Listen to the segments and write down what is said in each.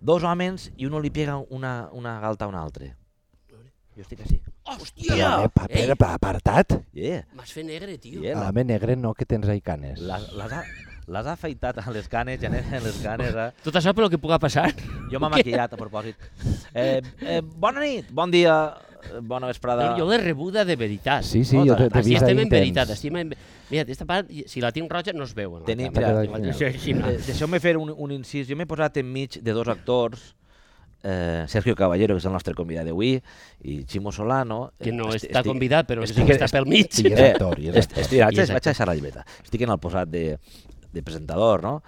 dos homes i un li pega una, una galta a un altre. Jo estic així. eh, Hòstia! Epa, Ei, Pere, pa- eh, apartat. Yeah, M'has fet negre, tio. yeah. A l'home negre no, que tens ahí canes. Les, les, ha, les ha afeitat a les canes, ja n'eren les canes. Eh? Tot això pel que puga passar. Jo m'ha maquillat a propòsit. Eh, eh, bona nit, bon dia, eh, bona vesprada. Jo l'he rebuda de veritat. Sí, sí, jo Hola, t'he t'he Així vist estem ahí en veritat. intens. Estem en... Mira, aquesta part, si la tinc roja, no es veu. en la Tenim, càmera. mira, Això és gimnàs. Eh, Deixeu-me fer un, un incís. Jo m'he posat enmig de dos actors, eh, Sergio Caballero, que és el nostre convidat d'avui, i Ximo Solano. que no Esti- està estic- convidat, però estic- estic, està pel mig. I és actor, i és Eh, est- actor. Estic, vaig, I és vaig actor. deixar la llibreta. Estic en el posat de, de presentador, no?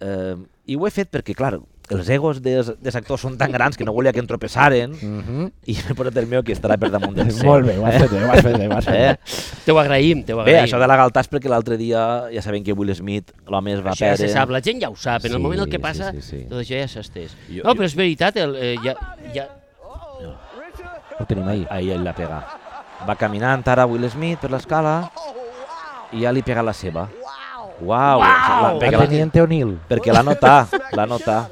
Eh, I ho he fet perquè, clar, els egos dels, dels actors són tan grans que no volia que en tropessaren Mhm. i m'he posat el meu que estarà per damunt del seu. Molt bé, ho has fet bé, ho has fet bé, ho has fet bé. Eh? Te ho agraïm, te ho Bé, agraïm. això de la galtà és perquè l'altre dia, ja sabem que Will Smith, l'home es va Això ja perdre. se sap, la gent ja ho sap. En el Sí, moment el que sí, passa, sí, sí. tot això ja s'ha estès. Jo- No, jo- però és veritat, el, eh, ja, ja, Ho tenim ahí. Ahí ell la pega. Va caminant ara Will Smith per l'escala i ja li pega la seva. Uau! La, La perquè la, Teniente O'Neill. perquè la nota, la nota.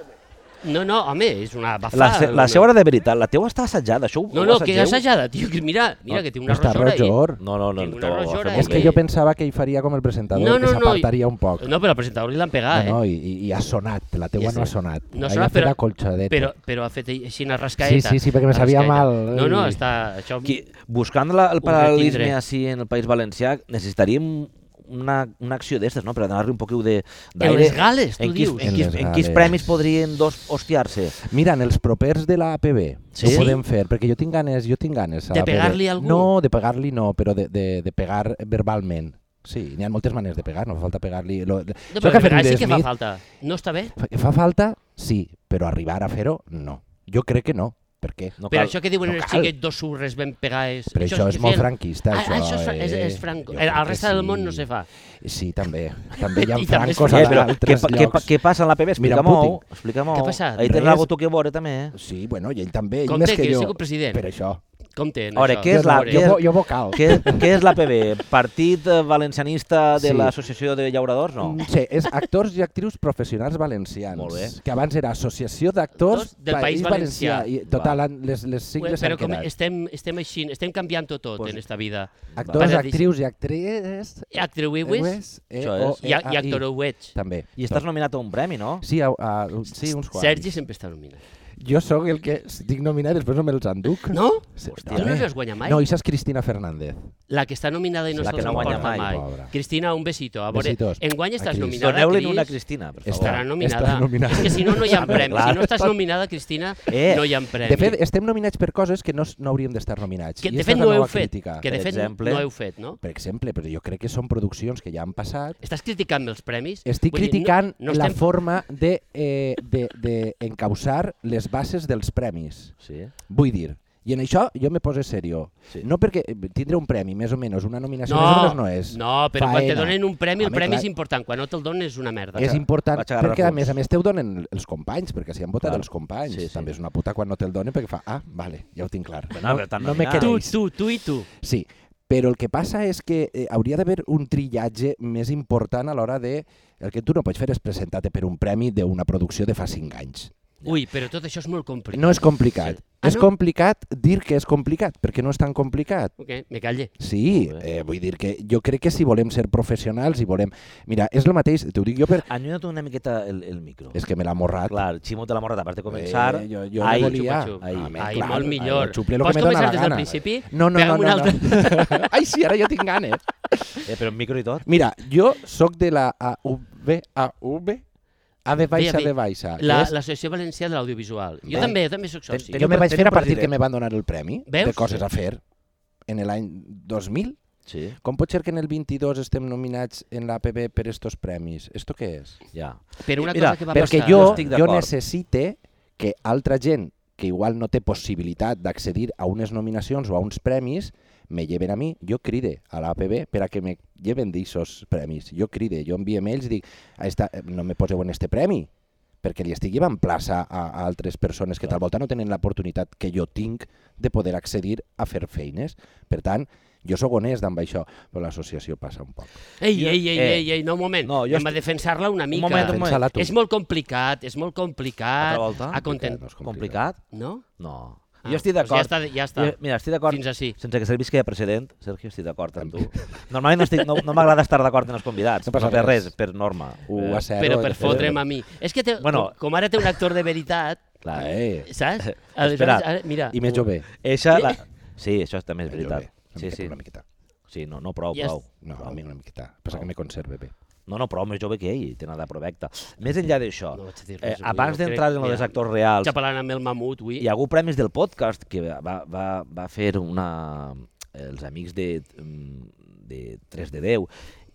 No, no, home, és una bafada. La, se, la una- seva era de veritat, la teua està assajada, això ho No, ho no, que assageu? assajada, tio, que mira, mira, No, que té una eh? Està rosora. roig or. No, no, no, Tinc una to- ho fem rosora i- És molt que bé. jo pensava que ell faria com el presentador, eh, No, no, que no, s'apartaria un poc. No, però al presentador li l'han pegat, no, eh? i, i- i ha sonat, la teua Ja no ha sé. sonat. No ha Ahí sonat, ha fet però- la colxadeta. Però, però ha fet així una rascaeta. Sí, sí, sí, perquè me sabia mal. No, no, Ui. està... Això... Qui, buscant la, el Ho paral·lelisme retindré. així en el País Valencià, necessitaríem una, una acció d'estes, no? Per donar-li un poqueu de- En d'aire. les gales, tu en quins, dius. en, En quins, les en quins gales. premis podrien dos hostiar-se? Mira, en els propers de la APB Sí? ho podem fer, perquè jo tinc ganes, jo tinc ganes. a De l'APB. pegar-li a algú? No, de pegar-li no, però de, de, de pegar verbalment. Sí, n'hi ha moltes maneres de pegar, no fa falta pegar-li... Lo... No, No, però a vegades sí que fa falta. No està bé? Fa falta, sí, però arribar a fer-ho, no. Jo crec que no. Per què? No Però cal. això que diuen no els cal. xiquets dos surres ben pegades... Però això, és molt difícil. franquista, Ah, això. això és, és, eh? és franco. Jo Eh, Al crec que resta del món no sí. se fa. Sí, també. També hi ha I també és francos Eh, a però què, altres pa- què, pa- llocs. què passa en la PB? Mira, Explica-m'ho. Putin. Explica-m'ho. Què ha passat? Eh? Ahir tens Res. algú tu que veure, també. eh? Sí, bueno, i ell també, ell Compte més que, que he jo. sigut president. Per això. Compte, en A veure, això. què és la- Veure. què és- Jo, jo vocal. Què, què és la PB? Partit eh, valencianista de Sí. l'Associació de Llauradors? No. Mm, Sí, és actors i actrius professionals valencians. Molt bé. Que abans era Associació d'Actors Actors del País Valencià. I, total, han- les, les Ué, sigles però han com quedat. estem, estem així, estem canviant tot, tot Pues- en esta vida. Actors, Vale. actrius i actrius... Actriuiues eh, Això o, és. i, eh, i actorouets. També. Doncs I estàs nominat a un premi, no? Sí, a, a, sí, uns quants. Sergi sempre està nominat. Jo sóc el que estic nominat i després no me'ls enduc. No? Sí, Hòstia. Tu no l'has guanyat mai? No, i és Cristina Fernández. La que està nominada i no La que se'ls no guanya emporta mai. mai. Pobra. Cristina, un besito. A veure, Besitos. enguany A estàs Cris. nominada, Doneu-li una a Cris. Cristina, per favor. Estarà Està nominada. nominada. És que si no, no hi ha premi. clar. Si no estàs nominada, Cristina, Eh, no hi ha premi. De fet, estem nominats per coses que no, s- no hauríem d'estar nominats. que, I de esta és fet la no ho heu nova fet. crítica. Que de Per fet exemple. no heu fet, no? Per exemple, però jo crec que són produccions que ja han passat Estàs criticant els premis? Estic Vull dir, criticant no, no la estem... forma de, eh, de, de encausar les bases dels premis. Sí. Vull dir, i en això jo me poso serio. Sí. No perquè eh, tindre un premi, més o menys, una nominació No, més o menys no és. no, però quan te Faena. donen un premi, el Home, premi clar, és important. Quan no te'l donen és una merda. És important, vaig agarrar perquè a fons. més a més te ho donen els companys, perquè si han votat Clar. els companys. Sí, sí. També és una puta quan no te'l donen perquè fa, ah, vale, ja ho tinc clar. Bueno, però t'han no me nominat. Tu, queréis. tu, tu i tu. Sí, però el que passa és que eh, hauria d'haver un trillatge més important a l'hora de... El que tu no pots fer és presentar-te per un premi d'una producció de fa 5 anys. Ui, però tot això és molt complicat. No és complicat. Sí. Ah, és no? complicat dir que és complicat, perquè no és tan complicat. Ok, me calle. Sí, Molt eh, vull dir que jo crec que si volem ser professionals i volem... Mira, és el mateix, t'ho dic jo per... Anyuna't una miqueta el, el micro. És que me l'ha morrat. Clar, Ximo te l'ha morrat, a part de començar. Eh, jo, jo Ai, no volia. xupa-xup. Ai, Ah, men, Ai, clar, molt millor. Ai, xuple lo que Pots me dona començar la des del gana. principi? No, no, Pega'm no, una no, no. Ai, sí, ara jo tinc ganes. Eh, però amb micro i tot. Mira, jo sóc de la AV, AV, A de baixa, Bé, bé. de baixa. que La- és- L'Associació Valenciana de l'Audiovisual. Jo Val. també, jo també soc soci. Ten- Jo me vaig fer a partir president. que me van donar el premi de Veus? coses a fer en l'any 2000 Sí, Com pot ser que en el 22 estem nominats en l'APB per estos premis? Esto què és? ja. Per una Mira, cosa que va Perquè passar... jo, estic jo d'acord. necessite que altra gent que igual no té possibilitat d'accedir a unes nominacions o a uns premis, me lleven a mi, jo cride a l'APB per a que me lleven d'ixos premis. Jo cride, jo envio mails i dic "A esta, no me poseu en este premi, perquè li estic llevant plaça a, a altres persones que tal volta no tenen l'oportunitat que jo tinc de poder accedir a fer feines. Per tant, Jo sóc honest amb això, però l'associació passa un poc. Ei, Jo- ei, ei, eh, ei, ei, no, un moment. no, No, jo Hem de defensar-la una mica. moment, un moment. Defensa-la tu. És molt complicat, és molt Altra complicat. volta? A content... Complicat, no és Complicat? No? No. Ah, jo estic doncs d'acord. Ja està, ja està. Jo- Mira, estic d'acord. Fins ací. Sense que servís que hi ha precedent, Sergio, estic d'acord amb tu. Normalment no, estic- no, no m'agrada estar d'acord amb els convidats. No No, passa per res. Uh, res, per norma. U Eh, a zero, Però per de zero. fotre'm a mi. És que té, Bueno. bueno, com, com ara té un actor de veritat, Clar, eh? Eh, saps? Espera. Aleshores, ara, mira, I més jove. Eixa, la... Sí, això també és més veritat. Eh? jove. Una Sí, miqueta, sí. Una miqueta. Sí, no, no, prou, Ja prou. No, prou. a mi una miqueta. Passa que me conserve bé. No, no, però més jove que ell, té nada provecta. Més enllà d'això, No vaig a dir eh, res avui, abans no d'entrar crec, en els mira. dels actors reals, xapalant amb el mamut, avui. hi ha hagut premis del podcast que va, va, va fer una... els amics de, mm, de 3 de 10,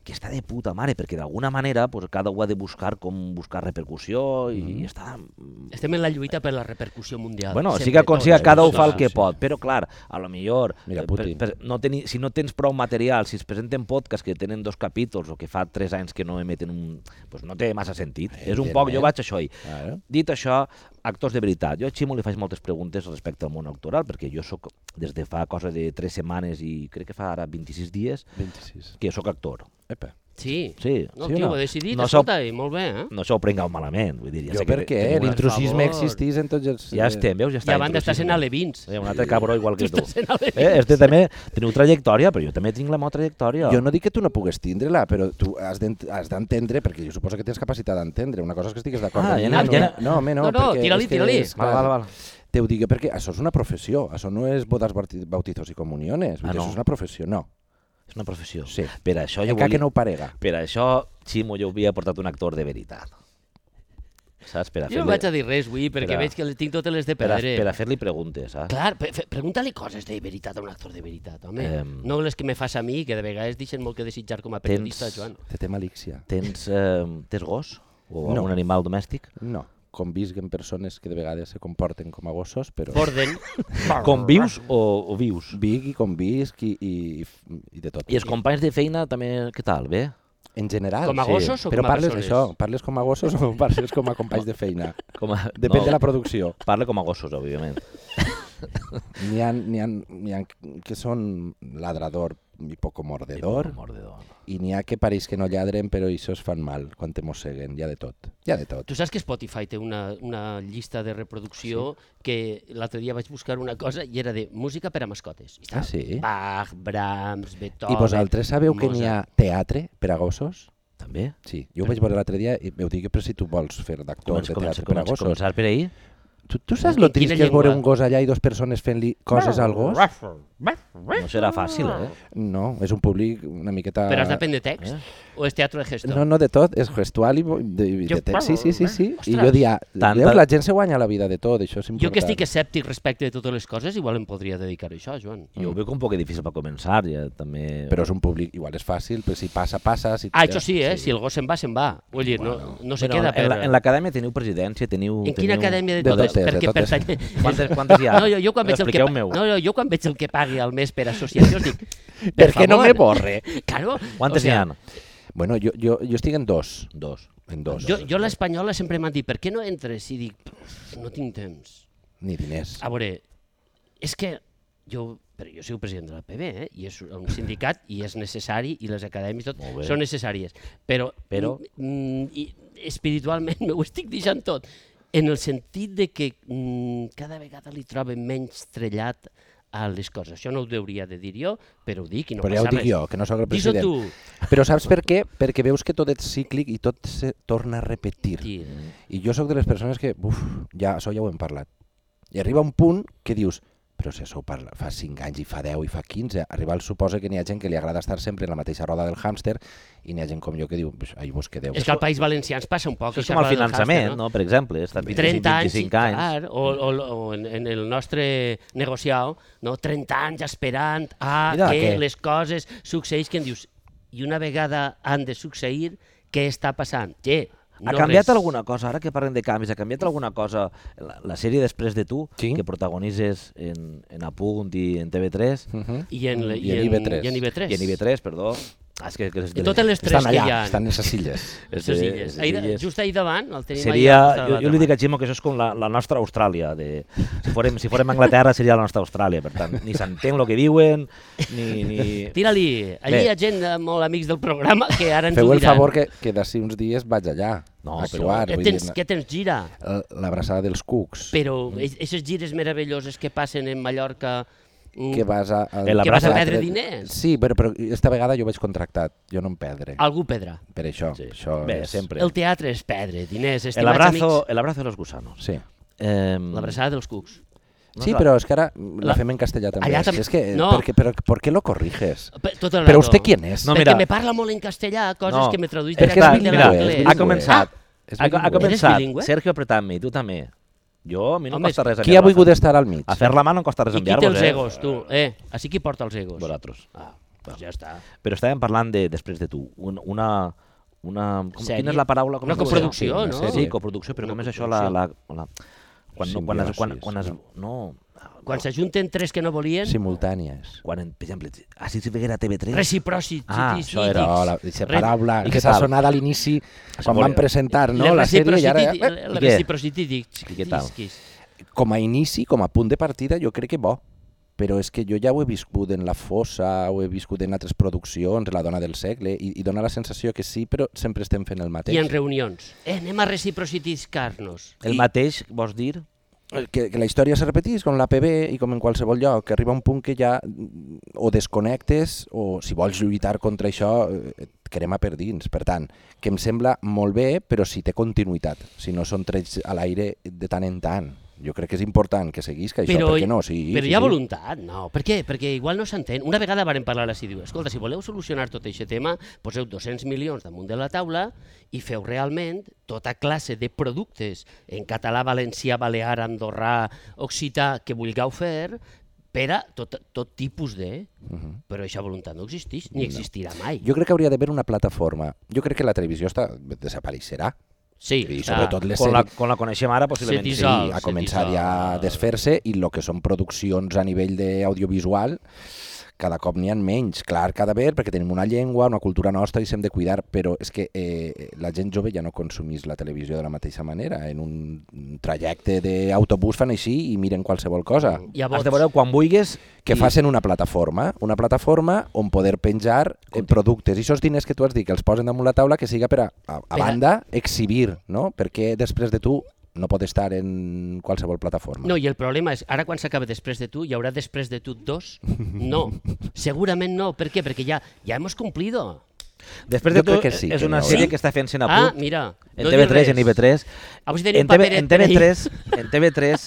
que està de puta mare, perquè d'alguna manera pues, cada un ha de buscar com buscar repercussió i, Mm-hmm. i està... mm, Estem en la lluita per la repercussió mundial. Bueno, Sempre, siga com siga, tots, cada un tots. fa el que eh? sí. pot, però clar, a lo millor, Mira, eh, Putin. no teni, si no tens prou material, si es presenten podcasts que tenen dos capítols o que fa tres anys que no emeten un... Pues no té massa sentit. Eh, És un poc, jo Evidentment. vaig a això ahir. Claro. Dit això, actors de veritat. Jo a Ximo li faig moltes preguntes respecte al món actoral, perquè jo sóc, des de fa cosa de tres setmanes i crec que fa ara 26 dies, 26. que sóc actor. Epa. Sí. Sí. No, sí o tio, no? ho he decidit, no no sóc- escolta, i molt bé, eh? No s'ho prengueu malament, vull dir, ja Jo sé que perquè teniu una- l'intrusisme favor. existís en tots els... eh, Ja estem, veus? Ja I està. a banda està sent intrusisme. alevins. Eh, un altre cabró igual que tu. Estàs sent alevins. Eh, este també teniu trajectòria, però jo també tinc la meva trajectòria. Jo no dic que tu no pugues tindre-la, però tu has d'ent- has d'entendre, perquè jo suposo que tens capacitat d'entendre. Una cosa és que estigues d'acord Ah, amb ja mi, n'ha- ja n'ha- no, home, no, No, no, perquè tira-li, és que tira-li. és clar. Val, val, val. Te ho dic perquè això és una professió, això no és bodas, barti- bautizos i comuniones, Ah, no. ah, no. això és una professió, no. És una professió. Sí. Per això jo Encara volia... que no ho parega. Per això, Ximo, jo havia portat un actor de veritat. Saps? eh, Per a Jo no fer-li- vaig a dir res, avui, perquè Espera. veig que li tinc totes les de per a, pedre. per a fer-li preguntes, ah. saps? Clar, pe- fe- pregunta-li coses de veritat a un actor de veritat, home. Em. No les que me fas a mi, que de vegades deixen molt que desitjar com a periodista, Tens- Joan. Te té malíxia. Tens, eh, tens gos? O No. algun animal domèstic? No, convisguen persones que de vegades se comporten com a gossos, però... Borden. Convius o, o vius? Vic i convisc i, i, i f- i de tot. I els companys de feina també, què tal? Bé? En general, Com a gossos sí. o però com a parles persones? això, parles com a gossos o parles com a companys de feina? Com a... Depèn no, de la producció. Parla com a gossos, òbviament. N'hi ha, n'hi ha, n'hi ha que són ladrador i poc mordedor, Mordedor. i n'hi ha que pareix que no lladren, però això es fan mal quan te mosseguen, hi ha de tot. Hi ha de tot. Tu saps que Spotify té una, una llista de reproducció sí. que l'altre dia vaig buscar una cosa i era de música per a mascotes. I Ah, sí? Bach, Brahms, Beethoven... I vosaltres sabeu que n'hi ha teatre per a gossos? També? Sí, jo ho vaig veure l'altre dia i vau dir que però si tu vols fer d'actor Comença, de comença, teatre per a comença, gossos. començar per ahir? Tu, tu saps En lo quina trist que és veure llengua? un gos allà i dos persones fent-li coses al gos? No serà fàcil, eh? No, és un públic una miqueta... Però has d'aprendre text? Mm. O és teatre de gestor? No, no, de tot, és gestual i, bo- i de, i de Jo- text. Sí, sí, sí, sí. I Ostres. jo dia, Tant, veus, tant. la gent se guanya la vida de tot, això és important. Jo que estic escèptic respecte de totes les coses, igual em podria dedicar a això, Joan. Jo ho veig un poc difícil per començar, ja també... Però és un públic, igual és fàcil, però si passa, passa. Si... Ah, això sí, eh? Si el gos se'n va, se'n va. Vull dir, no, no se queda. en, Per... la, en l'acadèmia teniu presidència, teniu... En teniu... quina acadèmia de De totes? totes, de Perquè totes. pertany... Quantes, quantes hi ha? No, jo, jo, quan veig el que... pa- Expliqueu-me-ho. no, no, jo quan veig el que pagui al mes per associació dic... Per què no favor. me borre? Claro. Quantes o sea, n'hi ha? Bueno, jo, jo, jo estic en dos. Dos. En dos. Jo, jo a l'espanyola sempre m'han dit, per què no entres? I dic, "Pff, no tinc temps. Ni diners. A veure, és que jo, però jo soc president de la PB, eh? i és un sindicat, i és necessari, i les acadèmies tot, Molt bé. són necessàries. Però, Però? Mm, i espiritualment m'ho estic deixant tot, en el sentit de que mm, cada vegada li troben menys trellat a les coses. Això no ho hauria de dir jo, però ho dic i no però ja ho passa dic res. jo, que no sóc el Dis-ho president. tu. Però saps per què? Perquè veus que tot és cíclic i tot se torna a repetir. Tia. Mm. I jo sóc de les persones que, uf, ja, això ja ho hem parlat. I arriba un punt que dius, però si això ho parla, fa 5 anys i fa 10 i fa 15, arriba el suposa que n'hi ha gent que li agrada estar sempre en la mateixa roda del hàmster i n'hi ha gent com jo que diu, "Pues, ai, vos quedeu. És que al País Valencià ens passa un poc. Això és això com el del finançament, hàmster, no? Per exemple, estan 25, 30 anys, 25 anys. Clar, o, o, o en, en el nostre negociau, no? 30 anys esperant a Mira, que què? les coses succeeix que en dius, i una vegada han de succeir, què està passant? Que Ha no canviat res. alguna cosa, ara que parlem de canvis, ha canviat alguna cosa la, la sèrie Després de tu, Sí. que protagonitzes en, en Apunt i en TV3, Uh -huh. I en, I en IB3. I en IB3. i en IB3, perdó, Ah, és que, que les De totes les tres Estan allà, que hi ha. estan en les illes. les les de- illes. les Ahir, illes. just ahir davant el tenim Seria, allà. jo, jo li dic a Ximo que això és com la, la nostra Austràlia. De, si, fórem, si fórem a Anglaterra seria la nostra Austràlia, per tant, ni s'entén el que diuen, ni... ni... Tira-li, allí Bé. hi ha gent eh, molt amics del programa que ara ens Feu ho el diran. favor que, que d'ací uns dies vaig allà No, a però- actuar. Què vull tens, dir, eh, què tens gira? L'abraçada dels cucs, Però aquestes gires meravelloses que passen en Mallorca... mm, que vas a... Que vas a l'abraçada- perdre diners. Ah. Sí, però, però esta vegada jo vaig contractat, jo no em perdre. Algú pedra. Per això, Sí. això Bé, és... sempre. El teatre és pedre, diners, El estimats abrazo, amics. el abrazo de los gusanos. Sí. Eh, L'abraçada dels cucs. No sí, és la- però és que ara la, La- fem en castellà també. Allà És tam- que, No. per, què, però, ¿por qué lo corriges? Pe- Tot el Però rato. usted quién es? No, Perquè mira. me parla molt en castellà, coses que m'he traduït perquè és directament de mira, bilingüe, l'anglès. ha bilingüe. començat. És Ha, ha bilingüe. començat. Eres bilingüe? Sergio apretant-me, tu també. Jo, a mi no Home, em costa res. Qui ha enviar-vos volgut a- estar al mig? A fer la mà no em costa res I qui té enviar-vos, els eh? egos, tu? Eh, així qui porta els egos? Vosaltres. Ah, doncs ja està. Però estàvem parlant de, després de tu, un, una... una com, Sèrie? quina és la paraula? Com Una es diu això? Sí, coproducció, una no? sèrie. Sí, coproducció, però Una com és això la... la, la quan, no, quan, es, quan, Simbiosis, quan es, no, Quan s'ajunten tres que no volien, Simultànies. quan, en- per exemple, a si veguera TV3... recipròcits. Ah, citis, això era, cítics. No, la, aquesta Re- paraula I que què s'ha tal? sonat a l'inici quan molt van bé. presentar no, Les la sèrie i ara... reciprocitit- eh, les I què? reciprocitítics. I què tal? Disquis. eh, Com a inici, com a punt de partida, jo crec que bo. Però és que jo ja ho he viscut en La Fossa, ho he viscut en altres produccions, La dona del segle, i, i dona la sensació que sí, però sempre estem fent el mateix. I en reunions. Eh, anem a reciprocitiscar-nos. El mateix, vols dir? Eh, que, que la història se repetís com l'APB i com en qualsevol lloc, que arriba un punt que ja mm, o desconnectes o si vols lluitar contra això eh, et crema per dins. Per tant, que em sembla molt bé, però si té continuïtat, si no són trets a l'aire de tant en tant. Jo crec que és important que seguís que això, Però- perquè no, sí. Però sí, hi ha sí. voluntat, no. Per què? Perquè igual no s'entén. Una vegada varen parlar així, diu, escolta, si voleu solucionar tot aquest tema, poseu 200 milions damunt de la taula i feu realment tota classe de productes en català, valencià, balear, andorrà, occità, que vulgueu fer, per a tot, tot tipus de... Mhm. Però això voluntat no existeix, ni existirà mai. Jo crec que hauria d'haver una plataforma. Jo crec que la televisió està, desapareixerà. Sí, I està. sobretot les Com la, sèries- com la coneixem ara, possiblement Sí, sí. Sí, dissol, ha se començat dissol. ja a desfer-se i el que són produccions a nivell d'audiovisual cada cop n'hi ha menys. Clar, cada vegada, perquè tenim una llengua, una cultura nostra i s'hem de cuidar, però és que eh, la gent jove ja no consumís la televisió de la mateixa manera. En un trajecte d'autobús fan així i miren qualsevol cosa. Has Llavors, de veure quan vulguis Que i- facin una plataforma, una plataforma on poder penjar eh, productes. I aquests diners que tu has dit, que els posen damunt la taula, que siga per a, a, a Per a- banda, exhibir, no? Perquè després de tu no pot estar en qualsevol plataforma. No, i el problema és, ara quan s'acaba després de tu, hi haurà després de tu dos? No, segurament no. Per què? Perquè ja, ja hemos cumplido. Després de Jo crec tot, que sí, és que eh? una n'hi haurà. sèrie que està fent Sena Ah, Puig, mira. en no diu TV3, res. en IB3. A veure si tenim en, TV, paperet en per ahí. TV3, en TV3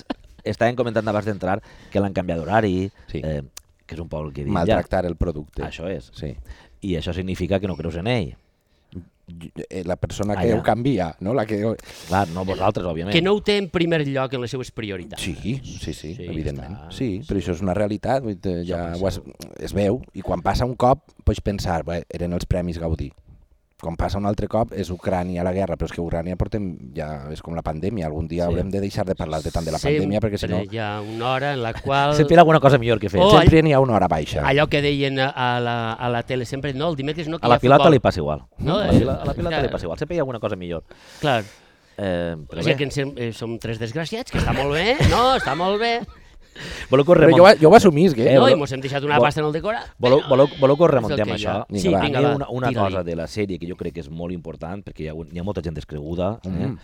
estaven comentant abans d'entrar que l'han canviat d'horari, Sí. eh, que és un poble que diu maltractar el producte. ja. Això és. Sí. I això significa que no creus en ell. Eh, La persona que Allà. ho canvia, no? La que... Clar, no vosaltres, òbviament. Que no ho té en primer lloc en les seues prioritats. eh. Sí, sí, sí, eh? Sí, evidentment. està. sí, però això és una realitat, vull dir, ja passa. ho es, es veu. I quan passa un cop, pots pensar, bé, eren els Premis Gaudí. Quan passa un altre cop és Ucrània la guerra, però és que Ucrània portem, ja és com la pandèmia, algun Sí. dia haurem de deixar de parlar de tant de la pandèmia perquè si no... Sempre hi ha una hora en la qual... Sempre hi ha alguna cosa millor que fer. Oh, Sempre n'hi ha una hora baixa. Allò que deien a a la, a la tele sempre, no, el dimecres no, que a la hi ha futbol. pilota li passa igual. No, a, la, eh, pila- a la pilota clar. li passa igual. Sempre hi ha alguna cosa millor. Clar, Eh, o però sigui bé, que ens, sem- eh, som tres desgraciats, que està molt bé, no, està molt bé. voleu que us Però remont... jo, ho- jo ho assumís, eh? Eh, no, voleu- i mos hem deixat una vol- pasta en el decorat. Voleu, però- voleu, voleu que ho és el rementem, que hi ha. això? Vinga, Sí, va. vinga, Hi va, ha una, una tira-li. cosa de la sèrie que jo crec que és molt important, perquè hi ha, un- hi ha molta gent descreguda, eh? Mm.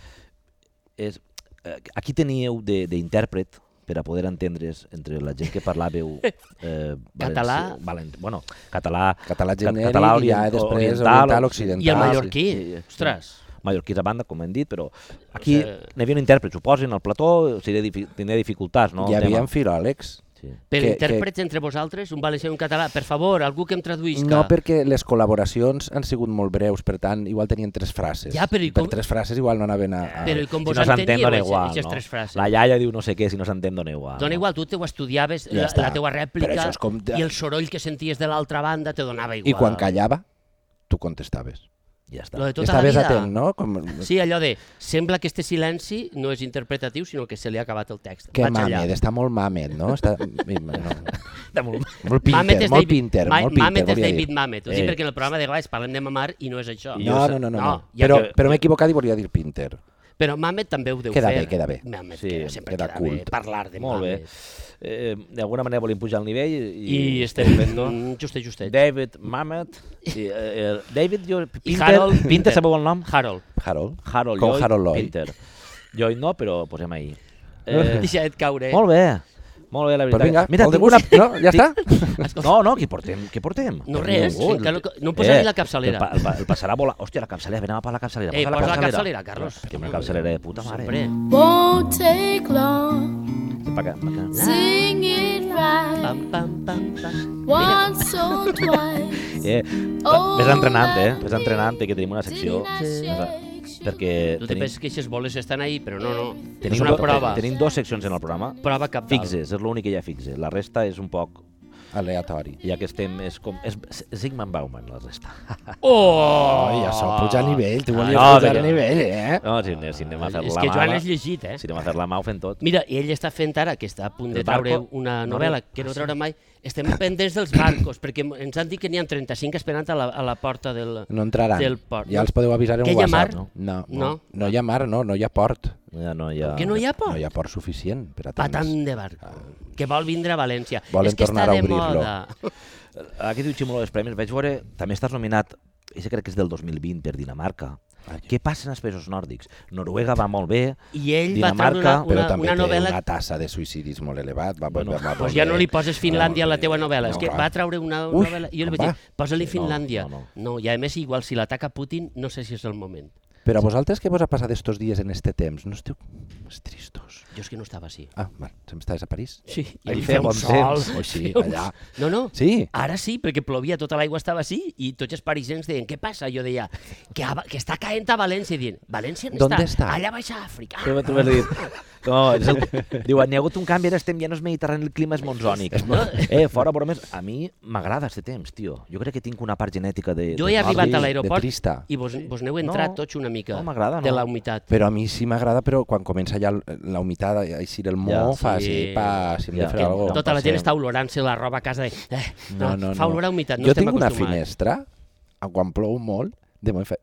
és, eh, aquí teníeu de- d'intèrpret per a poder entendre's entre la gent que parlàveu eh, Català. valenci- Valent, bueno, català, Català Ca- genèric català i ja orient- després oriental, oriental, occ- occidental. I el Ah, mallorquí, sí, sí, sí. ostres. mallorquís a banda, com hem dit, però aquí O sigui- n'hi havia un intèrpret, suposin, al plató, seria difi tindria dificultats, no? Hi el tema. havia filòlegs. Sí. Per Que- que, intèrprets entre vosaltres, un valencià i un català, per favor, algú que em traduïsca. No, perquè les col·laboracions han sigut molt breus, per tant, igual tenien tres frases. Ja, però i I per com- Eh, tres frases igual Eh, no anaven a... a... Però i com vos si no s'entén, enteníeu, dona aquestes- igual, aquestes no? tres frases? La iaia diu no sé què, si no s'entén, dona igual. Dona no? igual, tu te ho estudiaves, Ja ja la, està. la teua Però rèplica això és com de- i el soroll que senties de l'altra banda te donava igual. I quan callava, tu contestaves. Ja està. Lo de tota la Estaves vida. atent, no? Com... Sí, allò de, sembla que este silenci no és interpretatiu, sinó que se li ha acabat el text. Que Vaig allà. mamed, està molt mamed, no? Està... no. De molt... Molt pinter, Mamet és molt David- pinter, Ma- molt pinter. Mamet és volia dir. David Mamet. Ho dic Eh. perquè en el programa de Glass parlem de mamar i no és això. I No, no, no, no. no. ja però que- però m'he equivocat i volia dir pinter. Però Mamet també ho deu Queda fer. bé, queda bé. Mamet Sí, queda, sempre queda queda, cult. bé parlar de Molt bé. Mamet. Eh, D'alguna manera volim pujar el nivell i... I estem fent, no? Justet, justet. David Mamet. I, eh, eh, David jo, Pinter, Harold Pinter, Pinter. sabeu el nom? Harold. Harold. Harold Com Lloyd, Harold Lloyd. Pinter. Lloyd no, però posem ahí. Eh. Eh, Deixa't caure. molt bé. Molt bé, la Però veritat. vinga, Mira, molt de tinc una... gust, no? Ja està? No, no, què portem? Què portem? No Portem res, un gol. que no, no em posa ni la El, capçalera. Eh, pa, el, pa, el passarà volant. Hòstia, la capçalera, anem a per la capçalera. Eh, posa la capçalera, Carlos. Que una capçalera de puta mare. Sempre. Won't take long. Pa que, pa que... Sing it right Pam, pam, pam, pam. once or twice. Eh, va- ves entrenant, eh? Ves entrenant, eh, que tenim una secció. Perquè Tu te tenim, penses que aquestes boles estan ahí, però no, no. tenim, és una do- prova. tenim dues seccions en el programa. Prova cap Fixes, és l'únic que hi ha fixe. La resta és un poc... Aleatori. Ja que estem... És com... És Sigmund Bauman, la resta. Oh! Ah, Ai, això puja a nivell, tu volies Ah, no, pujar vinga. a nivell, eh? No, si, anem- si anem a fer és la que Joan mala- és llegit, eh? Si anem a fer la mà, ho fem tot. Mira, i ell està fent ara, que està a punt de El barco? traure una No, Ah, no. novel·la que no traurà mai, estem pendents dels barcos, perquè ens han dit que n'hi ha 35 esperant a la, a la porta del... No entraran. Del port. Ja els podeu avisar en Que un hi ha WhatsApp. mar? No, no, No. no hi ha mar, no, no hi ha port. Ja no hi ha... Com que no hi ha No port? hi ha port suficient per a tants. Patam de barco. Que vol vindre a València. Volen és que tornar està a de obrir-lo. moda. Ara que diu Ximolo dels premis, vaig veure... També estàs nominat... Això crec que és del 2020 per Dinamarca. Ai. Què passa en els països nòrdics? Noruega va molt bé. I ell Dinamarca, va treure Però una, una, també una té novel·la... una tassa de suïcidis molt elevat. Va, Bueno, va, va, eh? Pues ja no li poses Finlàndia a la teva novel·la. No, és que clar. va treure una Ui, novel·la i jo li com vaig dir, va? posa-li Sí, no, Finlàndia. no, No, i a més, igual si l'ataca Putin, no sé si és el moment. Però a vosaltres què vos ha passat estos dies en este temps? No esteu més tristos? Jo és que no estava així. Ah, val, sempre estàs a París? Sí, i Ahí hi feia feia un bon sol. temps. Oi, sí, feia un- allà. No, no, Sí. Ara sí, perquè plovia, tota l'aigua estava així i tots els parisencs deien, què passa? Jo deia, que, a, que està caent a València. I dient, València on ¿Dónde està? está? Allà baix a Àfrica. Tu m'has- tu m'has dit... No, és el... Diu, n'hi ha hagut un canvi, ara estem ja no és mediterrani, el clima és monzònic. Eh, fora bromes, a mi m'agrada aquest temps, tio. Jo crec que tinc una part genètica de... Jo de he arribat nòrdic. a de l'aeroport trista. i vos, vos n'heu entrat No, tots una mica no m'agrada, de no. la humitat. Però a mi sí m'agrada, però quan comença ja l- la humitat, així el Ja, mo, fa sí. així, pa, si hem Ja. de fer Que alguna no Tota la gent passem. està olorant-se la roba a casa. De, eh, No, no, no. Fa olor a humitat, no jo estem tinc una acostumats. finestra, a quan plou molt, de moment fa...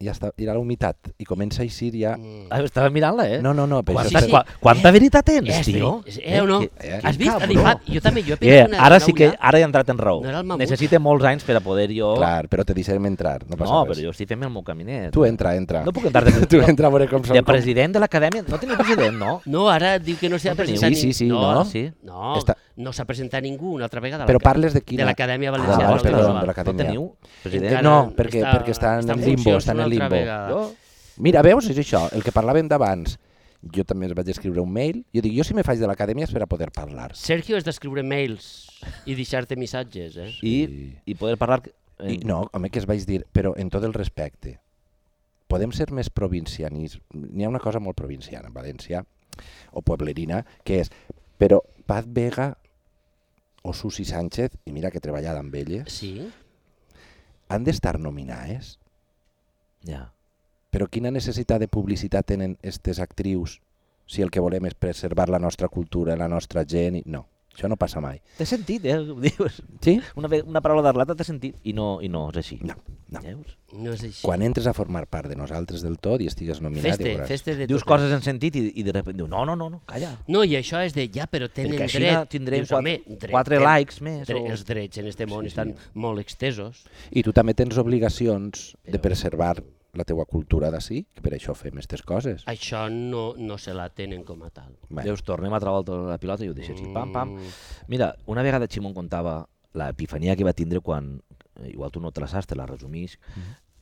Ja està, hi ha la humitat i comença a eixir ja... Mm. Ah, Estava mirant-la, eh? No, no, no, però Quanta, això està... sí, sí. qua- quanta veritat tens, Eh, tio? sí, eh, o no? que- eh, Has vist? cabró. Cabró. Jo també, jo he Eh, pensat una, ara una sí que ullà. ara he entrat en raó. No era el mamut. Necessita molts anys per a poder jo... Clar, però te deixarem entrar, no passa no, res. però jo estic fent el meu caminet. Tu entra, entra. No puc entrar de, Tu entra a veure com de són... com- president de l'acadèmia. No teniu president, no? No, ara diu que no s'ha No teniu. presentat Sí, sí, sí, ningú. no? Sí. No, Està- no s'ha presentat ningú una altra vegada. a la Però ca- parles de quina... De l'Acadèmia Ah, Valenciana. vale, perdó, de d'Audiovisual. No l'Acadèmia. teniu president? Eh, no, perquè- perquè està en limbo, funcions està en una el altra limbo. Oh. vegada. Jo- Mira, veus, és això, el que parlàvem d'abans. Jo també els vaig escriure un mail. Jo dic, jo si me faig de l'acadèmia és per a poder parlar. Sergio és d'escriure mails i deixar-te missatges, eh? I, i poder parlar... I, no, home, que es vaig dir, però en tot el respecte, podem ser més provincianis. N'hi ha una cosa molt provinciana en València, o pueblerina, que és, però Paz Vega o Susi Sánchez, i mira que he treballat amb elles, Sí? han d'estar nominades. Ja. Però quina necessitat de publicitat tenen aquestes actrius si el que volem és preservar la nostra cultura, la nostra gent... i- No, això no passa mai. T'he sentit, eh? Ho Dius, Sí? una, ve- una paraula d'Arlata t'he sentit i no, i no és així. No, no. Veus? No és així. Quan entres a formar part de nosaltres del tot i estigues nominat... Feste, i veuràs. feste de Dius tot. coses en sentit i, i de repente diu, no, no, no, no calla. No, i això és de, ja, però tenen Perquè així dret. tindrem Dius, quatre, home, dret, quatre ten- likes més. dre- o- Els drets en este món estan molt extesos. I tu també tens obligacions de Però- preservar la teua cultura d'ací, que per això fem aquestes coses. Això no, no se la tenen com a tal. Bé, Veus, tornem a treure la pilota i ho deixes aquí, pam, Mm. pam. Mira, una vegada Ximon contava l'epifania que va tindre quan, eh, igual tu no te la saps, te la resumís,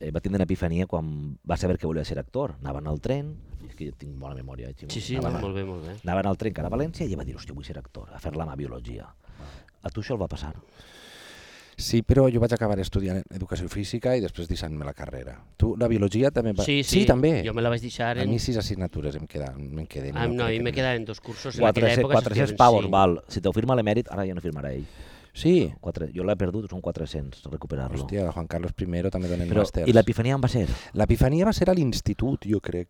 eh, va tindre una epifania quan va saber que volia ser actor. Anaven al tren, és que jo tinc bona memòria, eh, Ximon. Sí, sí, no, anaven, molt bé, molt bé. anaven al tren cara a València i ella va dir, hòstia, vull ser actor, a fer la mà biologia. A tu això el va passar? Sí, però jo vaig acabar estudiant Educació Física i després deixant-me la carrera. Tu, la Biologia també... Va... Sí, sí, també. Jo me la vaig deixar A en... mi sis assignatures em quedan, me'n queden. Ah, no, crec i que me no. quedaven dos cursos. En aquella 400, època 400 s'estiven pavos, cinc. val. Si t'ho firma l'emèrit, ara ja no firmarà ell. Sí. Quatre, jo l'he perdut, són 400 recuperar-lo. Hòstia, Juan Carlos I també donen Però, màsters. I l'epifania on va ser? L'epifania va ser a l'institut, jo crec.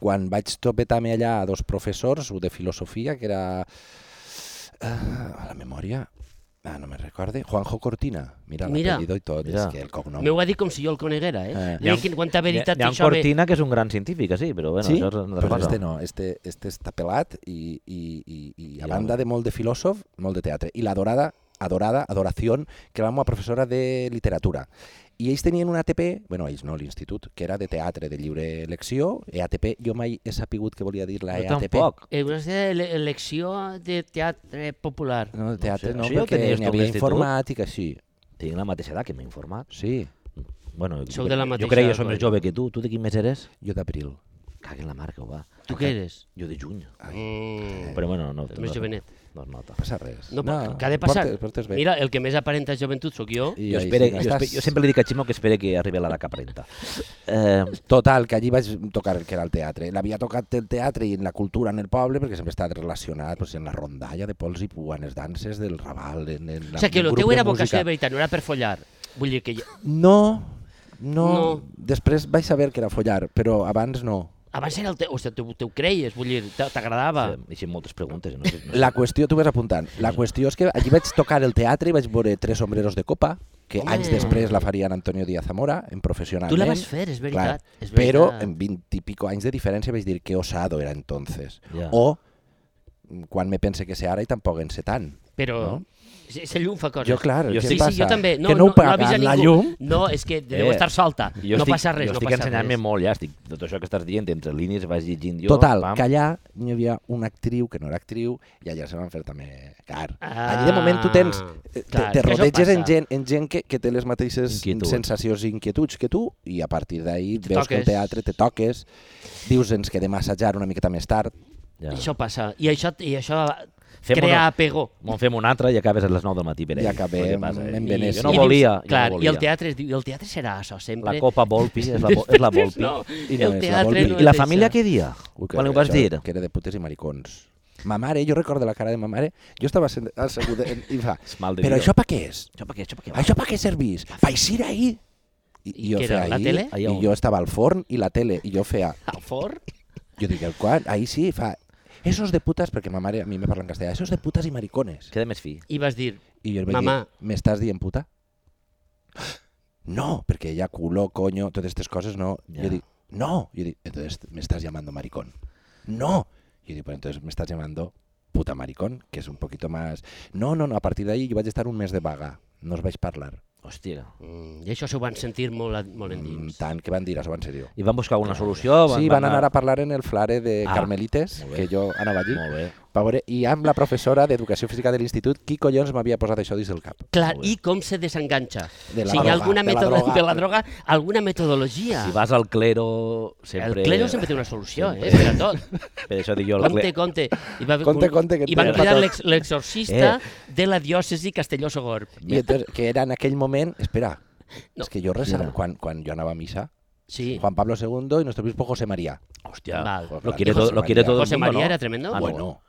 Quan vaig topetar-me allà a dos professors, un de filosofia, que era... eh, a la memòria... Ah, no me recorde. Juanjo Cortina. Mira, Mira. l'apellido i tot. Mira. És que el cognom... M'ho va dir com si jo el coneguera, eh? Eh. eh. Dic, quin- quanta veritat Hi ha, hi ha un això ve- Cortina, que és un gran científic, sí, però bueno, sí? això és una altra però cosa. este no, este, este està pelat i, i, i, i a Ja. banda de molt de filòsof, molt de teatre. I la dorada, adorada, adoración, que era una professora de literatura. I ells tenien una ATP, bueno, ells no, l'institut, que era de teatre, de lliure elecció, E EATP, jo mai he sapigut què volia dir la E Jo EATP. tampoc. Eh, una de elecció de teatre popular. No, de teatre No no, sé, això ja sé, ho no perquè tenies tu a n'hi havia l'institut? informàtica, sí. Tinc la mateixa edat que m'he informat. Sí, Bueno, Sou jo- de la jo mateixa crec que soc colla. més jove que tu. Tu de quin mes eres? jo d'abril. Cague en la marca, va. Tu què eres? Jo de juny. Mm. Però bueno, no... Més no, jovenet. No es nota. No passa res. No, no, que ha de passar. Portes, portes bé. Mira, el que més aparenta joventut sóc jo. I Jo, ahí espere, sí, jo, estàs- espe- jo sempre li dic a Ximo que espere que arribi a l'edat que aparenta. Eh, Total, que allí vaig tocar el que era el teatre. L'havia tocat el teatre i en la cultura en el poble, perquè sempre ha estat relacionat pues, en la rondalla de pols i pua, en les danses del Raval, en, en la, O sigui, que el el teu grup era de vocació de música. veritat, no era per follar. Vull dir que ja- No, no, No. no. Després vaig saber que era follar, però abans no. abans era el teu... O sigui, tu, tu ho creies, vull dir, t'a- t'agradava. he fet moltes preguntes. No sé, no sé. La qüestió, tu vas apuntant, la qüestió és que allí vaig tocar el teatre i vaig veure Tres sombreros de copa, que Home. anys després la faria en Antonio Díaz Zamora, en professionalment. Tu la vas fer, és Clar, veritat. és però veritat. en 20 i pico anys de diferència vaig dir que osado era entonces. Ja. O mm, quan me pense que sé ara i tampoc en sé tant. Però... No? Se, se llum fa coses. Jo, clar, Jo què sí, passa? sí, jo també. No, que no, ho no, no paguen avisa la ningú. llum? No, és que deu Eh, estar solta. Jo no estic, passa res, jo no estic passa ensenyant-me res. molt, ja. Estic, tot això que estàs dient, entre línies, vaig llegint jo. Total, pam. que allà hi havia una actriu que no era actriu i allà se van fer també car. Ah, Allí de moment tu tens, eh, te, clar, te és que això rodeges en passa. gent, en gent que, que té les mateixes Inquietuds. sensacions i inquietuds que tu i a partir d'ahir Te veus que el toques. teatre te toques, dius ens quedem a assajar una miqueta més tard, Ja. Això passa. I això, i això Fem crea una- apego. Me'n fem un altre i acabes a les 9 del matí per I ell. acabem Què passa, eh? en I Venècia. Jo no I- volia. jo Clar, no i volia. el teatre, es diu, el teatre serà això sempre. La copa Volpi és la, vo- és la Volpi. No, I no és el la teatre Volpi. no I la és família això. què dia? Ui, que Quan ho era vas això, dir? Que era de putes i maricons. Ma mare, jo recordo la cara de ma mare, jo estava sent- assegut en- i fa, És mal de però dir-ho." això pa què és? Això per què? Això per què? va? Això pa què servís? Pa eixir ahir? I, I què era, feia la ahir, tele? Ahí I on? jo estava al forn i la tele, i jo feia, Al forn? jo dic, el qual? Ahir sí, fa, esos de putes, perquè ma mare a mi me parla en castellà, esos de putes i maricones. Queda més fi. I vas dir, I jo li vaig Mamà. dir, m'estàs dient puta? No, perquè ella culo, coño, totes aquestes coses no. Ja. Jo dic, no. Jo dic, entonces me estás llamando maricón. No. Yo digo, pues entonces me estás llamando puta maricón, que es un poquito más... No, no, no, a partir de ahí yo voy a estar un mes de vaga. No os vais a parlar. Hòstia. mm, i això s'ho van sentir molt, a- molt Mm, endins. tant que van dir, això en serio. I Oh, van buscar alguna solució? sí, van anar a parlar en el flare de Ah, Carmelites, molt bé. que jo anava allí, Molt bé. pa veure, i amb la professora d'Educació Física de l'Institut, qui collons m'havia posat això dins del cap? Clar, Molt bé. i com se desenganxa? De la si hi droga, ha alguna de la metodo- droga. de la droga, alguna metodologia. Si vas al clero, sempre... El clero sempre té una solució, eh, Sempre. per a tot. Per això dic jo, el Compte, cle... compte. I, va, haver Compte, compte, que I van tenen cridar patat. l'ex- l'exorcista de la diòcesi Castelló-Sogorb. I entonces, que era en aquell moment, espera, No. és que jo resava, Era. quan, quan jo anava a missa, Sí. Juan Pablo II i nuestro obispo José María. Hòstia, Val. lo quiere, José todo, lo quiere María. todo José el mundo, María no? era tremendo. Ah, no. bueno,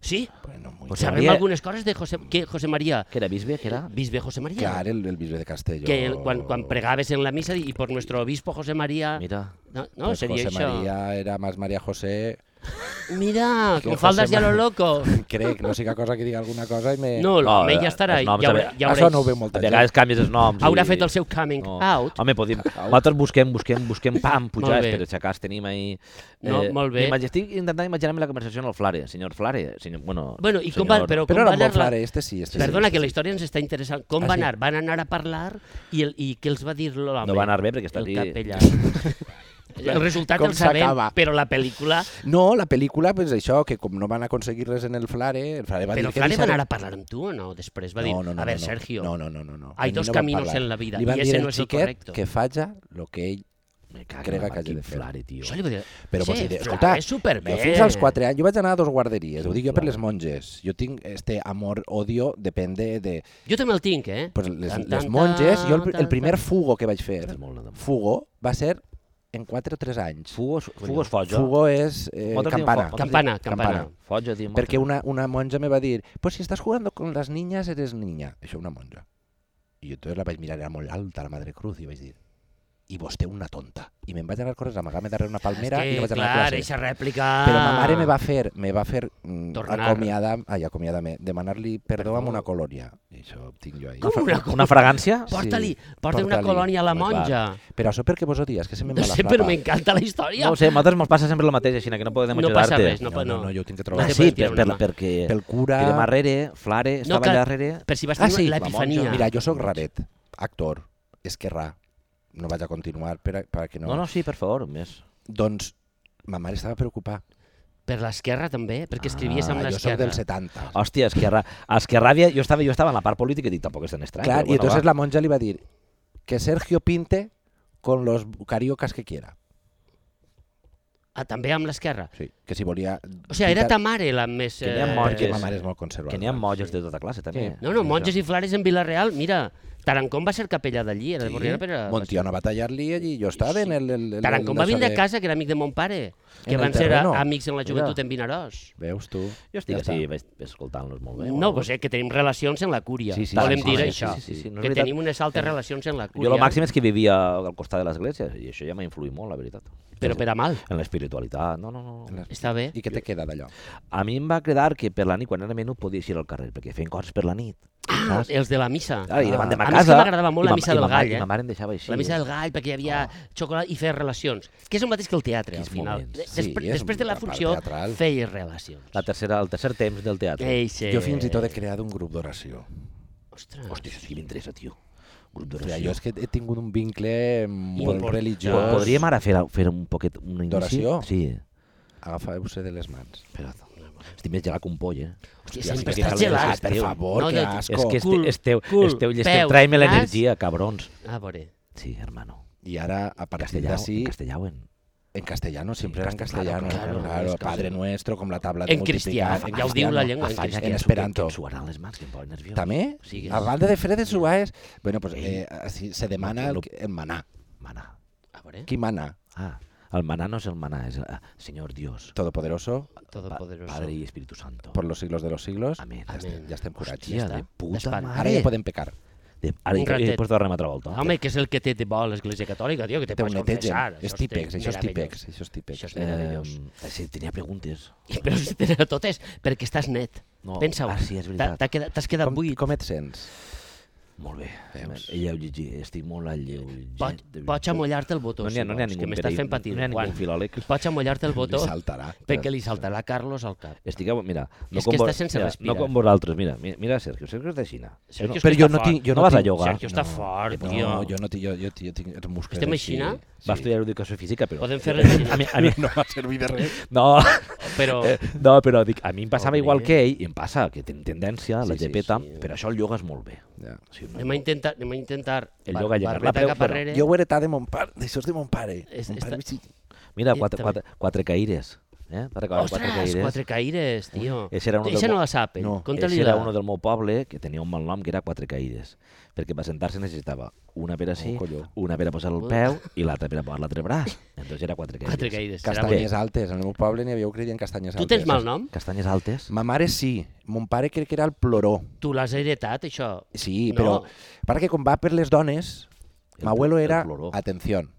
Sí, bueno, Pues muy bien. José sabem María- algunes coses de José, que José María, Que era bisbe, que era... bisbe José María. Clar, el, el bisbe de Castelló. que el- quan, quan pregaves en la missa i per nuestro obispo José María... Mira, No, no pues seria José això. María era más María José, Mira, Que con José faldas ya lo María- loco. crec, no siga cosa que diga alguna cosa i me... No, l'home No, ja estarà. els Ja, noms, ja, a veure, ja Això veuràs. eh, no ho veu a molta gent. vegades canvies els noms. Haurà i- fet el seu coming No. Ah, out. Home, podem... Nosaltres busquem, busquem, busquem, pam, Molt pujades bé. per aixecars, tenim ahir... No, molt bé. imag- Estic intentant imaginar-me la conversació en el Flare, senyor Flare, senyor... Bueno, Bueno, i com senyor- va, però, com Però era va anar molt la- clar, este sí, este Perdona, sí. que la història ens està interessant. Com Ah, va sí? anar? Van anar a parlar i, el, i què els va dir l'home? No va anar bé, perquè està el aquí- capellà. el resultat Com el sabem, s'acaba. però la pel·lícula... No, la pel·lícula, pues això, que com no van aconseguir res en el Flare, el Flare va però dir que... Flare va deixaré- anar a parlar amb tu o no? Després va dir, no, no, no, a veure, no, no. Sergio, No, no, no, no. no. hay A mi dos no va caminos parlar. en la vida, Li van y dir ese al no es el xiquet correcto. que falla lo que ell Me cago crega en que hagi quin de fer. Flare, tio. això li va dir... Però sí, vos diré, Flare escolta, és superbé. Jo fins als 4 anys, jo vaig anar a dos guarderies, ho dic jo per les monges. Jo tinc este amor-odio, depèn de... de Jo també el tinc, eh? pues les, Tan, tan, les monges, jo el, tan, el primer tan. fugo que vaig fer, Estàs molt de- fugo, va ser en 4 o 3 anys. Fugo, és- fugo és foja. Fugo és eh, Moltes diuen campana. fo- moltes Campana, diuen- campana. Foja, diuen moltes. Perquè una, una monja me va dir, pues si estàs jugando con las niñas eres niña. Això una monja. I jo entonces la vaig mirar, era molt alta la Madre Cruz, i vaig dir, i vostè una tonta. I me'n vaig anar corrents a amagar-me darrere una palmera que, i no vaig anar clar, a classe. eixa rèplica... Però ma mare me va fer, me va fer mm, Tornar. acomiadar, ai, acomiadar-me, demanar-li perdó amb una colònia. I això ho tinc jo ahí. Com una cosa? Una fragància? Porta-li, porta una porta-li. colònia a la Home, monja. Però això per què vos ho dius? Que se me'n No va la sé, flapa. però m'encanta la història. No ho sé, a nosaltres mos passa sempre el mateix, així que no podem No ajudar-te. passa res, no, No, no, no, no. jo ho tinc que Ah, trobar. No te sí, puedes per, tirar per, una mà. perquè... Pel cura... Tirem arrere, flare, No, estava clar. allà darrere... Per si vas Ah, tenir sí, la l'epifania. Mira, jo sóc raret, actor, esquerrà. No vaig a continuar per, a- per a que no... No, no, sí, per favor, més. Doncs ma mare estava preocupada. Per l'esquerra també, perquè escrivies amb Ah, jo sóc l'esquerra. del 70. Hòstia, Esquerra, Esquerra havia, jo, estava, jo estava en la part política i dic, tampoc és tan estrany. però Clar, y bueno, entonces va. la monja le iba a decir que Sergio pinte con los cariocas que quiera. Ah, també amb l'esquerra. Sí. Que si volía... O sigui, era ta mare la més... Que n'hi ha eh, monges. Perquè ma mare és molt conservadora. Que n'hi ha monges de tota classe, també. No, no, monges i flares en Vilareal, mira, Tarancón va ser capellà d'allí, era de Borriana, però... era- Montiano va tallar-li allí, jo estava en el... el, el Tarancón el va d'això vindre de- a casa, que era amic de mon pare, que En el van ser terreno. amics en la Mira. joventut en Vinaròs. Veus tu? Jo estic Ja així, està. vaig escoltant-los molt bé. No, pues, eh, que tenim relacions en la cúria. Sí, sí, Volem sí, dir sí, això. sí, sí, sí, no és que veritat. tenim unes altres relacions en la cúria. Jo el màxim és que vivia al costat de l'església i això ja m'ha influït molt, la veritat. Però per a mal. En l'espiritualitat, no, no, no. Està bé. I què te queda d'allò? A mi em va quedar que per la nit, quan era menú, podies ir al carrer, perquè feien coses per la nit. Ah, els de la missa. Ah. Clar, I davant de ma a mi casa... és que m'agradava molt i la ma- missa i del ma mare- gall, I eh? ma mare em deixava així. La missa del gall, perquè hi havia xocolata i fer relacions. Que és el mateix que el teatre, al Quins final. moments. De- Sí, despre- és després de una la part funció, teatral. feies relacions. La tercera, el tercer temps del teatre. Eixe... Jo fins i tot he creat un grup d'oració. Ostres. Hòstia, això sí que m'interessa, tio. Grup O sigui, d'oració. jo és que he tingut un vincle molt Import- religiós. Jo... Podríem ara fer, fer un poquet un inici? D'oració? Sí. Agafar-vos de les mans. Però, estic més gelat que un poll, eh? Hòstia, Hòstia, sempre sí, estàs que cal- gelat. és Per teu. favor, No, que no, asco. és que este, cul, esteu, cul, esteu, esteu peus, traient nas. l'energia, cabrons. A veure. Sí, hermano. I ara, a partir Castellà, d'ací, sí. castellauen. en castellano, Sí, siempre era en castellano, castellano. eh, claro, Claro, claro, es Padre Nuestro, con la tabla de En cristià, multiplicar, ja ho diu la llengua. En Afanya cristià. que en ens esperanto. Que ens suaran les mans, que em posen nerviós. També? Sigues. A banda de fredes suaes... Bueno, pues, eh, así se demana el, el maná. Manà. A veure. Qui mana? Ah, el manà no és el manà, és el ah, Senyor Dios, Todopoderoso, Todopoderoso. Padre i Espíritu Santo. por los siglos de los siglos. Amén. Ja, estem, ja estem curats. Hòstia, ja de està. puta Espant. mare. Ara ja podem pecar. De, ara, Un i, i ratet. després tornem a altra volta. eh? Home, que és el que té de bo l'Església Catòlica, tio, que te Te ho pots netegen. confessar. eh? És típex, això és típex. Això és típex. Això és Eh, meravellós. sí, tenia preguntes. Però si tenen totes, perquè estàs net. No, Pensa-ho. ah, sí, és veritat. T'ha- t'ha quedat- T'has quedat Com, buit. com et sents? Molt bé. Ella ho llegi, estic molt al lleu. Pot, pots amollar-te el botó, No n'hi ha, no n'hi ha si vols, ningú. que m'estàs fent patir. No n'hi ha Juan. ningú filòleg. Pots amollar-te el Li botó saltarà. perquè li saltarà Carlos al cap. Estigueu, mira, no És com, que vos- està sense mira, respirar. no com vosaltres, mira, mi- mira Sergio, Sergio és de Xina. Sergio és però que jo està no fort. tinc, jo no, No vas a tinc- ioga. Sergio està fort, no, tio. jo no tinc, jo, jo, jo tinc els músculs Estem a així. Xina? Va estudiar educació física, però... Podem fer res, a mi, a mi, No va servir de res. no, però... eh, no, però dic, a mi em passava Home. igual que ell, i em passa, que tinc tendència, la Sí, sí, llepeta, sí. però això el ioga és molt bé. Ja. Sí, no, Anem a intentar... Anem a intentar El bar- yoga llenar la barbeta peu, cap però arrere. Jo ho he heretat de mon pare, d'això és de mon pare. És- mon està- pare sí. Mira, Eh, quatre, també. quatre, quatre caires. Eh? Te'n recordes, Ostres, quatre caires. quatre caires, Eh, tio. Ese era uno Eixa del no mo- la sap, ell. No, Conta-li Ese era la... uno del meu poble que tenia un mal nom que era Quatre Caires, perquè per sentar-se necessitava una per així, Oh, colló. una per a posar el peu i l'altra per a posar l'altre braç. Entonces era Quatre Caires. Quatre caires. serà bo. Castanyes altes. En el meu poble n'hi havia un que li deien castanyes Tu altes. tens mal nom? Castanyes altes. Ma mare sí. Mon pare crec que era el ploró. Tu l'has heretat, això? Sí, No. però... Para que quan va per les dones, El ma abuelo pl- el era... ploró. Atención.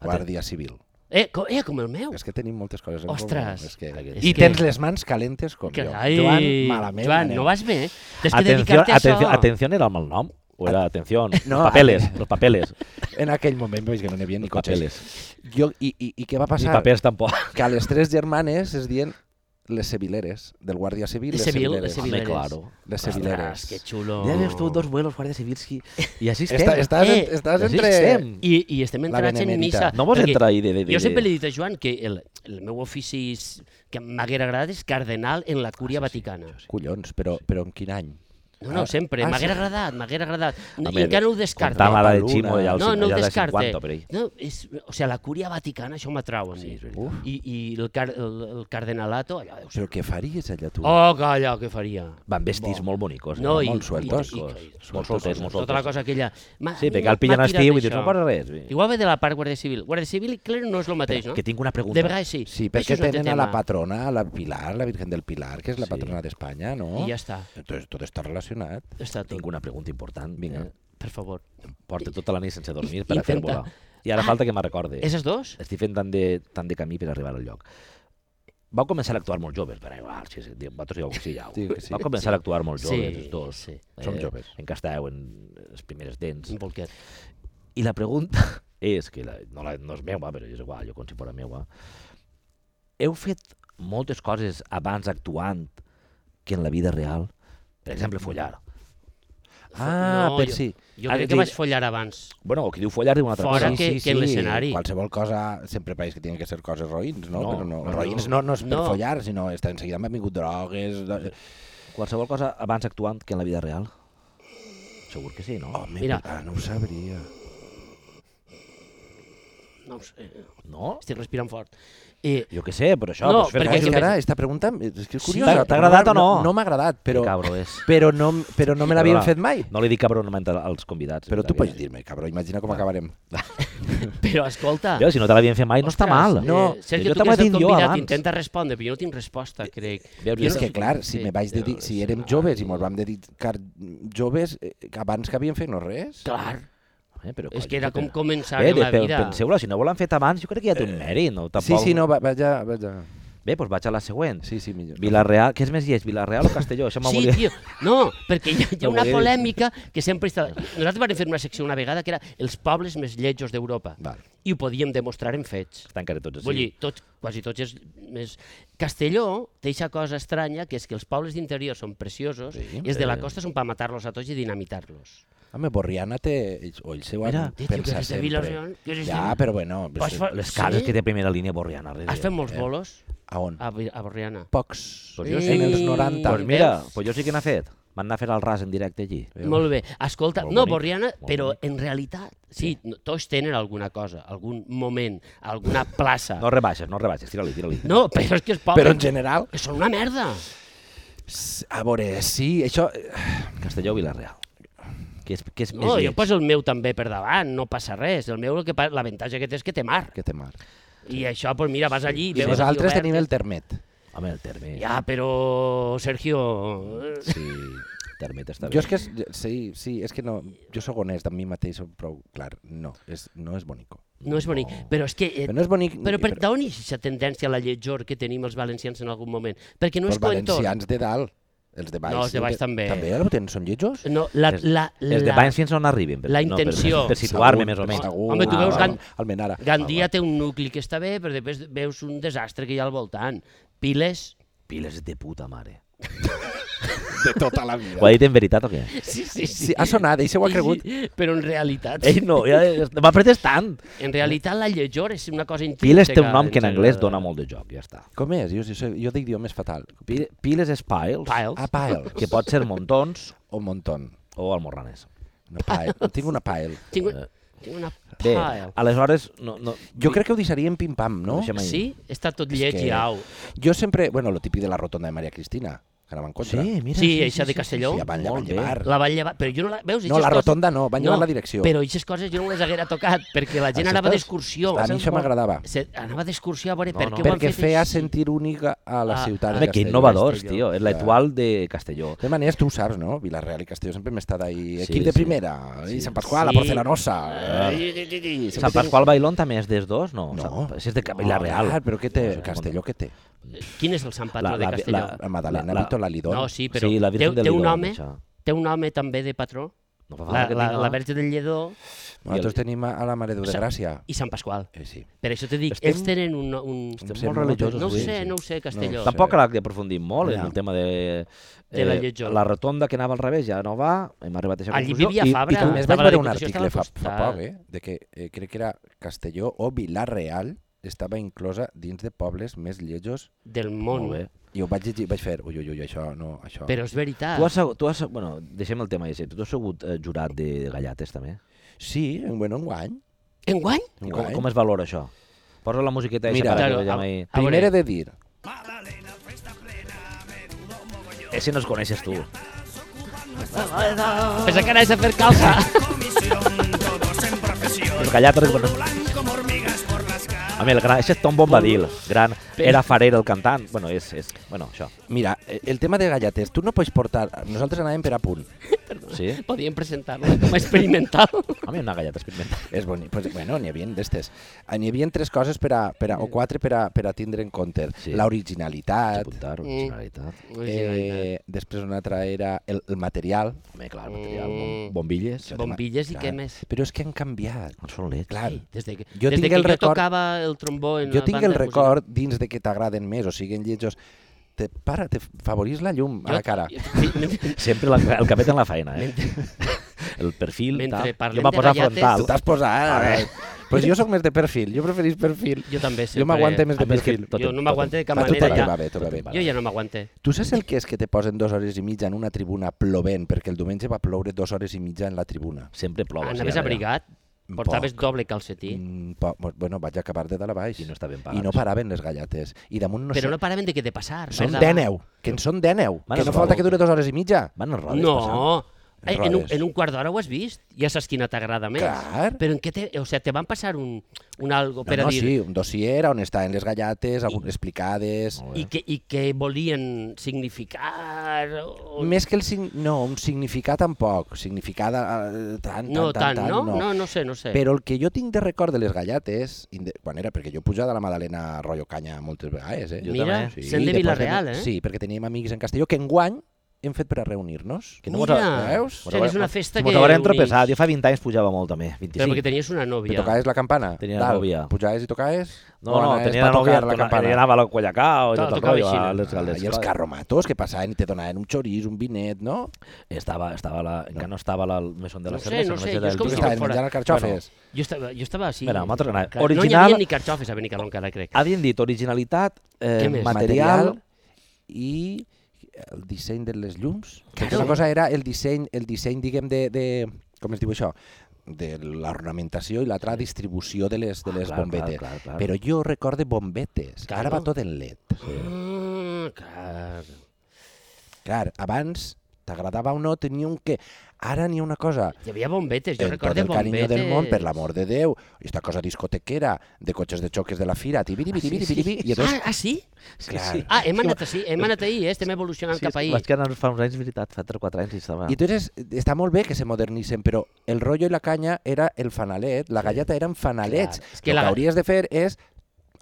Guàrdia Civil. Eh, com, eh, com el meu. És que tenim moltes coses en Ostres. comú. És que... És I que- tens les mans calentes com Que, jo. ai, Joan, malament. eh? Joan, anem. no vas bé. Tens que Atenció, dedicar-te a atenció, això. atenció era el mal nom? O era atenció, No, los papeles, los papeles, En aquell moment veus que no n'hi havia ni los cotxes. papeles. Jo, i, i, I què va Ni passar? papers tampoc. Que a les tres germanes es dien les sevileres, del Guàrdia Civil, les, Sevil, les sevileres. Home, sevileres. claro. Les Ostres, sevileres. que xulo. Ja veus tu dos vuelos guàrdies civils i, i així estem. Està, estàs, Eh, en, estàs Així entre... estem. I, I estem entrats en benemèrita. missa. No vols perquè entrar ahí de... de, de Jo sempre li he dit a Joan que el, el meu ofici Ah, és- que m'haguera agradat és cardenal en la cúria vaticana. Collons, però, però en quin any? No, no, sempre. Ah, M'haguera sí. agradat, m'haguera agradat. No, Home, I encara no ho descarto. comptant la de Paluna. Ximo ja el, no, no ho ja de descarte. 50 per ell. No, és, o sigui, la cúria vaticana, això m'atrau a mi. és Uf, I, I el, car el, el cardenalato, allò deu ser... però què faries allà tu? Doncs Oh, calla, què faria? Van vestits molt bonicos, No, eh? i- molt sueltos. i- i- molt solters, molt Tota la solters. cosa aquella... Ma, Sí, a mi perquè m'ha- el pillen m'ha a tirat estiu i dius, això. no passa res. bé. Igual ve de la part Guàrdia Civil. Guàrdia Civil i clero no és el mateix, no? Que tinc una pregunta. De vegades sí. Sí, perquè Això és un altre tenen a la tema. patrona, a la Pilar, la Virgen del Pilar, que és la Sí. patrona d'Espanya, no? I ja està. Entonces, tot està relacionat. Està tot. Tinc una pregunta important. Vinga. Eh, Per favor. Porto tota la nit sense dormir per a fer Intenta. volar. I ara Ah, falta que me recorde. Eses dos? Estic fent tant de, tant de camí per arribar al lloc. Vau començar a actuar molt joves, per arribar, si, si, vosaltres ja ho exiliau. Diu que sí. Vau començar a actuar molt joves, els dos. Sí, Eh, Som joves. Encasteu en les primeres dents. un bolquet. I la pregunta és, que la, no, la, no és meua, però és igual, jo com si fora meua. Heu fet moltes coses abans actuant que en la vida real? Per exemple, follar. Ah, No, per jo- si... Jo Ah, és crec que dir- vaig follar abans. Bueno, o qui diu follar diu una altra Fora cosa. que- que en l'escenari. Qualsevol cosa, sempre pareix que tenen que ser coses roïns, no? No, Però no, no, roïns no, no és per no. follar, sinó està en seguida m'han vingut drogues... Do... Qualsevol cosa abans actuant que en la vida real? Segur que sí, no? Home, Mira. Mira. ah, no ho sabria. No ho sé. No? Estic respirant fort. Eh, Jo què sé, però això... No, pues, fer Perquè perquè- coses és que que- ara, esta pregunta és que és Sí, curiosa. t'ha- t'ha agradat o no? No, m'ha agradat, però, Que cabro és. però, no, però no me l'havien Perdona. fet mai. No li dic cabronament a- als convidats. Però és tu veritat pots que- dir-me, cabró, imagina com acabarem. però escolta... Jo, si no te l'havien fet mai, no està ostres, mal. eh, No, Sergio, jo tu te que m'ho has he dit el jo convidat, abans. Eh, intenta respondre, però jo no tinc resposta, crec. Veus, Jo és no que, sé- clar, si, sí, me vaig dedicar, però si és- érem joves i mos vam dedicar joves, eh, que abans que havien fet no res. Clar, Eh, però, és coi, que era com espera. començar Bé, en la de- vida. penseu-la, si no ho l'han fet abans, jo crec que ja té un mèrit. No? Eh, Sí, Tampoc... sí, no, va- vaig a... Vaig a... Bé, doncs vaig a la següent. Sí, sí, millor. Vilareal, què és més lleig, Vilareal o Castelló? Això m'ho Sí, volia- tio, no, perquè hi ha, hi ha una M'ho volia dir. polèmica que sempre està... Nosaltres vam fer una secció una vegada que era els pobles més lletjos d'Europa Val. i ho podíem demostrar en fets. Estan encara tots Sí. així. Vull dir, tot, quasi tots és més... Castelló té aquesta cosa estranya que és que els pobles d'interior són preciosos Sí. sí, i els de la Eh. costa són per matar-los a tots i dinamitar-los. Home, Borriana té... ells- O ell seu Mira, Mira, tio, pensa que és de sempre. Vila-real, que és de- ja, però bueno... Pues sí. fa- Les cases Sí? que té primera línia borriana. res Has de- fet molts bolos A on? a, Vi- a Borriana? Pocs. Pues jo En sí. els 90. Doncs mira, pues jo sí que n'ha fet. Van anar a fer el ras en directe allí. Molt bé. Escolta, Molt no, bonic, Borriana, molt però bonic. en realitat, sí, no, tots tenen alguna cosa, algun moment, alguna plaça. No rebaixes, no rebaixes, tira-li, tira-li. No, però és que els pobles... Però en general... Que són una merda. s- A veure, sí, això... eh, Castelló o Vilareal. Que és, que és més No, jo lleig. poso el meu també per davant, no passa res. El meu, el que pa- l'avantatge que té és que té mar. Que té mar. I això, doncs mira, vas allí... I veus nosaltres aquí tenim el Termet. Home, el terme. Ja, però, Sergio... eh, Sí, termet està bé. Jo és que... és- Sí, sí, és que no... Jo sóc honest amb mi mateix, sóc prou clar. No, és, no és bonico. No és bonic. No. Però és que... eh, Però no és bonic... Però per d'on és aquesta tendència a la lletjor que tenim els valencians en algun moment? Perquè no els és coentor. valencians de dalt. Els de baix. No, els de sí, baix que- també. També el tenen, són lletjos? No, la, Els- la, Els de la- Vines fins on arriben. Per, la no, per- intenció. Per, situar-me, Segur, més o menys. segur. Home, tu Ah, veus va, Gan- va. Almenara. Gandia té un nucli que està bé, però després veus un desastre que hi ha al voltant. Piles... Piles de puta mare. De tota la vida. Ho ha dit en veritat o què? Sí, sí, Sí, ha sonat, ell se ho ha Sí, cregut. sí, Però en realitat, Ell no, ja es- va protestant. en realitat la lletjor és una cosa intrínseca. Piles té un nom que en ens anglès agrada. dona molt de joc, ja està. Com és? Jo, jo, jo dic idioma és fatal. Pi- Piles és piles, Piles. A pile. que pot ser montons Ah, O montón. o almorranes. Una pile. Tinc una pile. Tinc, un- tinc una Eh, Bé, pile. aleshores... No, no, Jo crec que ho deixaria en pim-pam, no? Deixem- Sí? Està tot És lleig que- i au. Jo sempre... Bueno, lo típic de la rotonda de Maria Cristina, que anava en contra. Sí, mira, Sí, això de Castelló. Sí, ja van, ja van Molt bé. llevar. La van llevar, però jo no la... No, Veus, eixes la coses- rotonda no, van llevar la direcció. Però aquestes coses jo no les haguera tocat, perquè la gent Això anava estàs- d'excursió. A mi això m'agradava. Se- Anava d'excursió a veure No, per no. què ho han Perquè fet feia així. sentir única a la Ah, ah. ciutat de Home, que Castelló. innovadors, Castelló. tio. És l'etual de Castelló. De maneres, tu ho saps, no? Vilareal i Castelló sempre hem estat ahí. Sí, Equip de sí. primera, i Sí. Sant Pasqual, Sí. la Porcelanosa. Ai, ai, ai, ai, Sant Pasqual Bailón també és dels dos, no? No. Sant- Si és de Vila Real. Ah, però què té? No sé, Castelló què té? Quin és el Sant Patró La- de la- Castelló? la- La Madalena, Ah, La- la- la, Vito, la Lidón. No, sí, però sí, la té, Virgen del té, un Lidó, home, això. té un home també de patró, No fa falta la, que la, tinga- la Verge del Lledó Nosaltres tenim a a la Mare de Déu de Sa- Gràcia. i Sant Pasqual. Eh, sí. Per això t'he dit, Estem- ells tenen un... un... Estem este molt religiosos, No ho avui, sé, sí. no ho sé, Castelló. No ho sé. Tampoc l'ha aprofundit molt en Ja. el tema de... eh, De la lletjor. La rotonda que anava al revés ja no va, hem arribat a aquesta Allí conclusió. vivia i- Fabra. I, També es Estava vaig la veure un Diputació article fa, al fa costat. poc, eh? De que eh, crec que era Castelló o Vilareal estava inclosa dins de pobles més lletjos Del tu, món. molt bé. i ho vaig llegir i vaig fer, ui, ui, ui, això no, això... Però és veritat. Tu has, segut- tu has, bueno, deixem el tema ese. Tu has sigut eh, jurat de, de Gallates, també? Sí, bueno, enguany. Enguany? I Com, Guai. com es valora això? Posa la musiqueta Mira, Mira, para Claro, que a- claro, ahí. a Primer he veure, de dir, Ese nos conoces tú. pensa que anaves a fer calça. Los gallatos... Bueno. Home, el gran, ese és Tom Bombadil, gran, era Farer el cantant, bueno, és, és, bueno, això, mira, eh, el tema de gallates, tu no pots portar... Nosaltres anàvem per a punt. sí? Podíem presentar-la com a experimental. Home, una galleta experimenta. És bonic. Pues, bueno, n'hi havia d'estes. Ah, N'hi havia tres coses per a, per a, o quatre per a, per a tindre en compte. Sí. La originalitat, Apuntar, Mm. originalitat. eh, després una altra era el, el material. Home, clar, material, Mm. bom- bombilles. Això de Bombilles i ma- què clar. més? Però és que han canviat. No són leds. Clar, Des de que, Jo des tinc de que el jo record- tocava el trombó en jo la tinc banda el de música. record dins de que t'agraden més, o siguin lletjos. Te, para, te favorís la llum Jo- a la cara. Sí, mentre- Sempre la, el capet en la faena, eh? El perfil, Mentre tal. Jo parlem m'ha de posat gallates- frontal. Tu t'has posat... eh? Pues jo sóc més de perfil, jo preferís perfil. Jo també sempre... Jo m'aguante més de A mi és que perfil. tot Jo em- no tot m'aguante em- de cap A tu tot manera. te Ja. va bé, tot va bé. Jo ja no m'aguante. Tu saps el que és que te posen dues hores i mitja en una tribuna plovent? Perquè el diumenge va ploure dues hores i mitja en la tribuna. Sempre plou. o sigui, Anaves a veure, abrigat, Un portaves poc. doble calcetí, Mm, po, bo- bueno, vaig acabar de dalt a baix. I no estaven I pagats. no paraven les gallates. I damunt no però sé... no paraven de que de passar. Són merda. 10, que en són 10. Mare Que no de falta Déu. que dure dues hores i mitja. Van a rodes passant. No, Eh, en un, Rodes. en un quart d'hora ho has vist? Ja saps quina t'agrada més. Clar. Però en què te, o sigui, te van passar un, un algo No, per no, a dir... sí, un dossier on estaven les gallates, algunes explicades... Molt bé. I que, I que volien significar... O... Més que el sign... No, un significat tampoc. Significada eh, tant, tant, no tant, tant, no? No, no sé, no sé. Però el que jo tinc de record de les gallates, inde- quan era, perquè jo pujava a la Madalena a Rollo Canya moltes vegades, eh? Jo Mira, també, sí, sí. sent de després Vila-real, tenim- eh? Sí, perquè teníem amics en Castelló que enguany hem fet per a reunir-nos. Que no Mira, mos- veus? o sigui, és una festa que... M'ho acabarem uneix. tropeçat. Jo fa 20 anys pujava molt, també. Però 25. perquè tenies una Que nòvia. tocaves la campana? Tenia Dalt, nòvia. Pujaves i tocaves? No, no, anaves tenia pa la nòvia, tocar la i anava a la Collacao i Clar, tot el tocava rotllo, així, a no? les galdes. I els carromatos que passaven i te donaven un xorís, un vinet, no? Estava, estava la, encara no estava la, el mesón de la No sé, cervesa. no només sé, jo era és el com Tu si tio. no estaven fora- menjant el carxofes. Jo estava, jo estava així. Mira, m'ha tornat. Clar, No hi Original- havia ni carxofes a Benicaló encara, crec. Havien dit originalitat, eh, Què més? material... i el disseny de les llums. Claro. Perquè una cosa era el disseny, el disseny diguem, de, de... Com es diu això? de l'ornamentació i l'altra distribució de les, de les Ah, clar, bombetes. clar, clar, clar. Però jo recorde bombetes. Claro. Ara va tot en LED. Ah, clar. Clar, abans t'agradava o no, tenia un que... Ara n'hi ha una cosa. Hi havia bombetes, jo en tot recordo el bombetes. carinyo del món, per l'amor de Déu, esta cosa discotequera, de cotxes de xoques de la fira, tibiri, biri, biri, biri, biri, i Ah, llavors, ah, sí? clar, Ah, hem anat, sí, hem anat ahir, eh? estem evolucionant cap ahir. Vaig quedar fa uns anys, veritat, fa 3 o 4 anys i estava... I entonces està molt bé que se modernitzen, però el rollo i la canya era el fanalet, la galleta eren fanalets. Clar, Clar, és que que el la- que hauries de fer és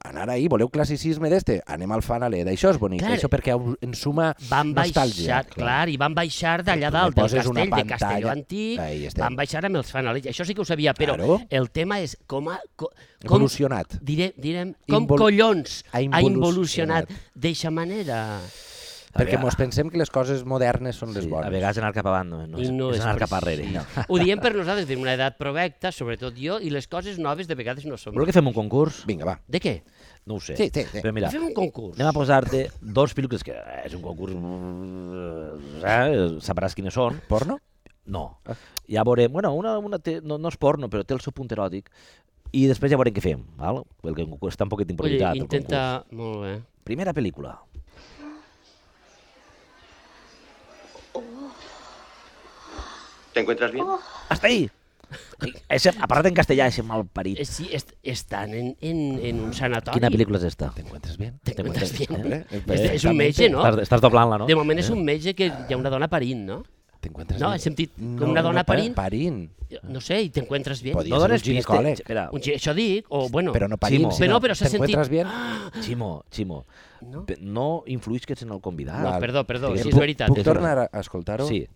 anar ahí, voleu classicisme d'este? Anem al fanalet, això és bonic, Clar. això perquè au- en suma Van nostàlgia. baixar, clar, i van baixar d'allà Tu li dalt, del poses una castell de pantalla. Castelló Antic, Ahí estem. van baixar amb els fanalets. Això sí que ho sabia, però Claro. el tema és com... Ha, co- com Evolucionat. diré, direm, com Invol- collons Ha ha involucionat d'eixa manera. Perquè vegades- mos pensem que les coses modernes són les Sí, bones. a vegades anar cap avant no, no I és, no és, és anar cap precís. arrere. No. Ho diem per nosaltres, tenim una edat provecta, sobretot jo, i les coses noves de vegades no som. Voleu que fem un concurs? Vinga, va. De què? No ho sé. Sí, sí, sí. Però mira, Fem un concurs. Anem a posar-te dos pel·lícules que eh, és un concurs... mm, Eh, sabràs quines són. Porno? No. Ja veurem... Bueno, una, una té, no, no és porno, però té el seu punt eròtic. I després ja veurem què fem, val? Perquè el concurs està un poquet Oye, improvisat. el intenta... Molt bé. concurs. Primera pel·lícula. ¿Te encuentras bien? Hasta ahí! Ese, a parlat en castellà, ese mal parit. Eh, Sí, est estan en, en, en un sanatori. Quina pel·lícula és esta? T'encuentres bien? Te encuentras bien. Eh? És, és un metge, no? Estàs, estàs doblant-la, no? De moment és un metge que hi ha una dona parint, no? T'encuentres No, bien? he sentit com una dona pa- parint. Parint. No sé, i t'encuentres bien. Podia No ser un dones pistes. ginecòleg. Espera, Un, gi- això dic, o bueno... Però no parint, Ximo. sinó Però no, però s'ha sentit- Ah, t'encuentres bien? Ximo, Ximo. No? Pe- No influïsques en el convidat. No, perdó, perdó, Puc- sí, és puc- veritat. puc Puc és tornar? tornar a escoltar-ho? Sí.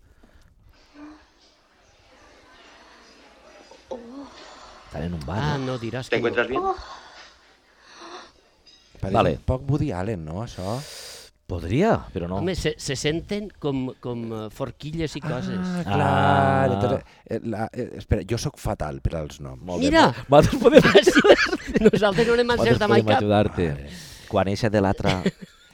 Estan en un bar. Ah, no? no diràs ¿Te que... encuentras bien? Pareix Vale. un poc Woody Allen, no, això? Podria, però no. No. Home, se, se senten com, com eh, forquilles i coses. Ah, Ah. clar. Entonces, eh, la, eh, espera, jo sóc fatal per als noms. Molt Mira! Bé. Nosaltres podem, Ah, Nosaltres no anem a ser nosaltres de podem Maica. ajudar-te. Quan eixa de l'altra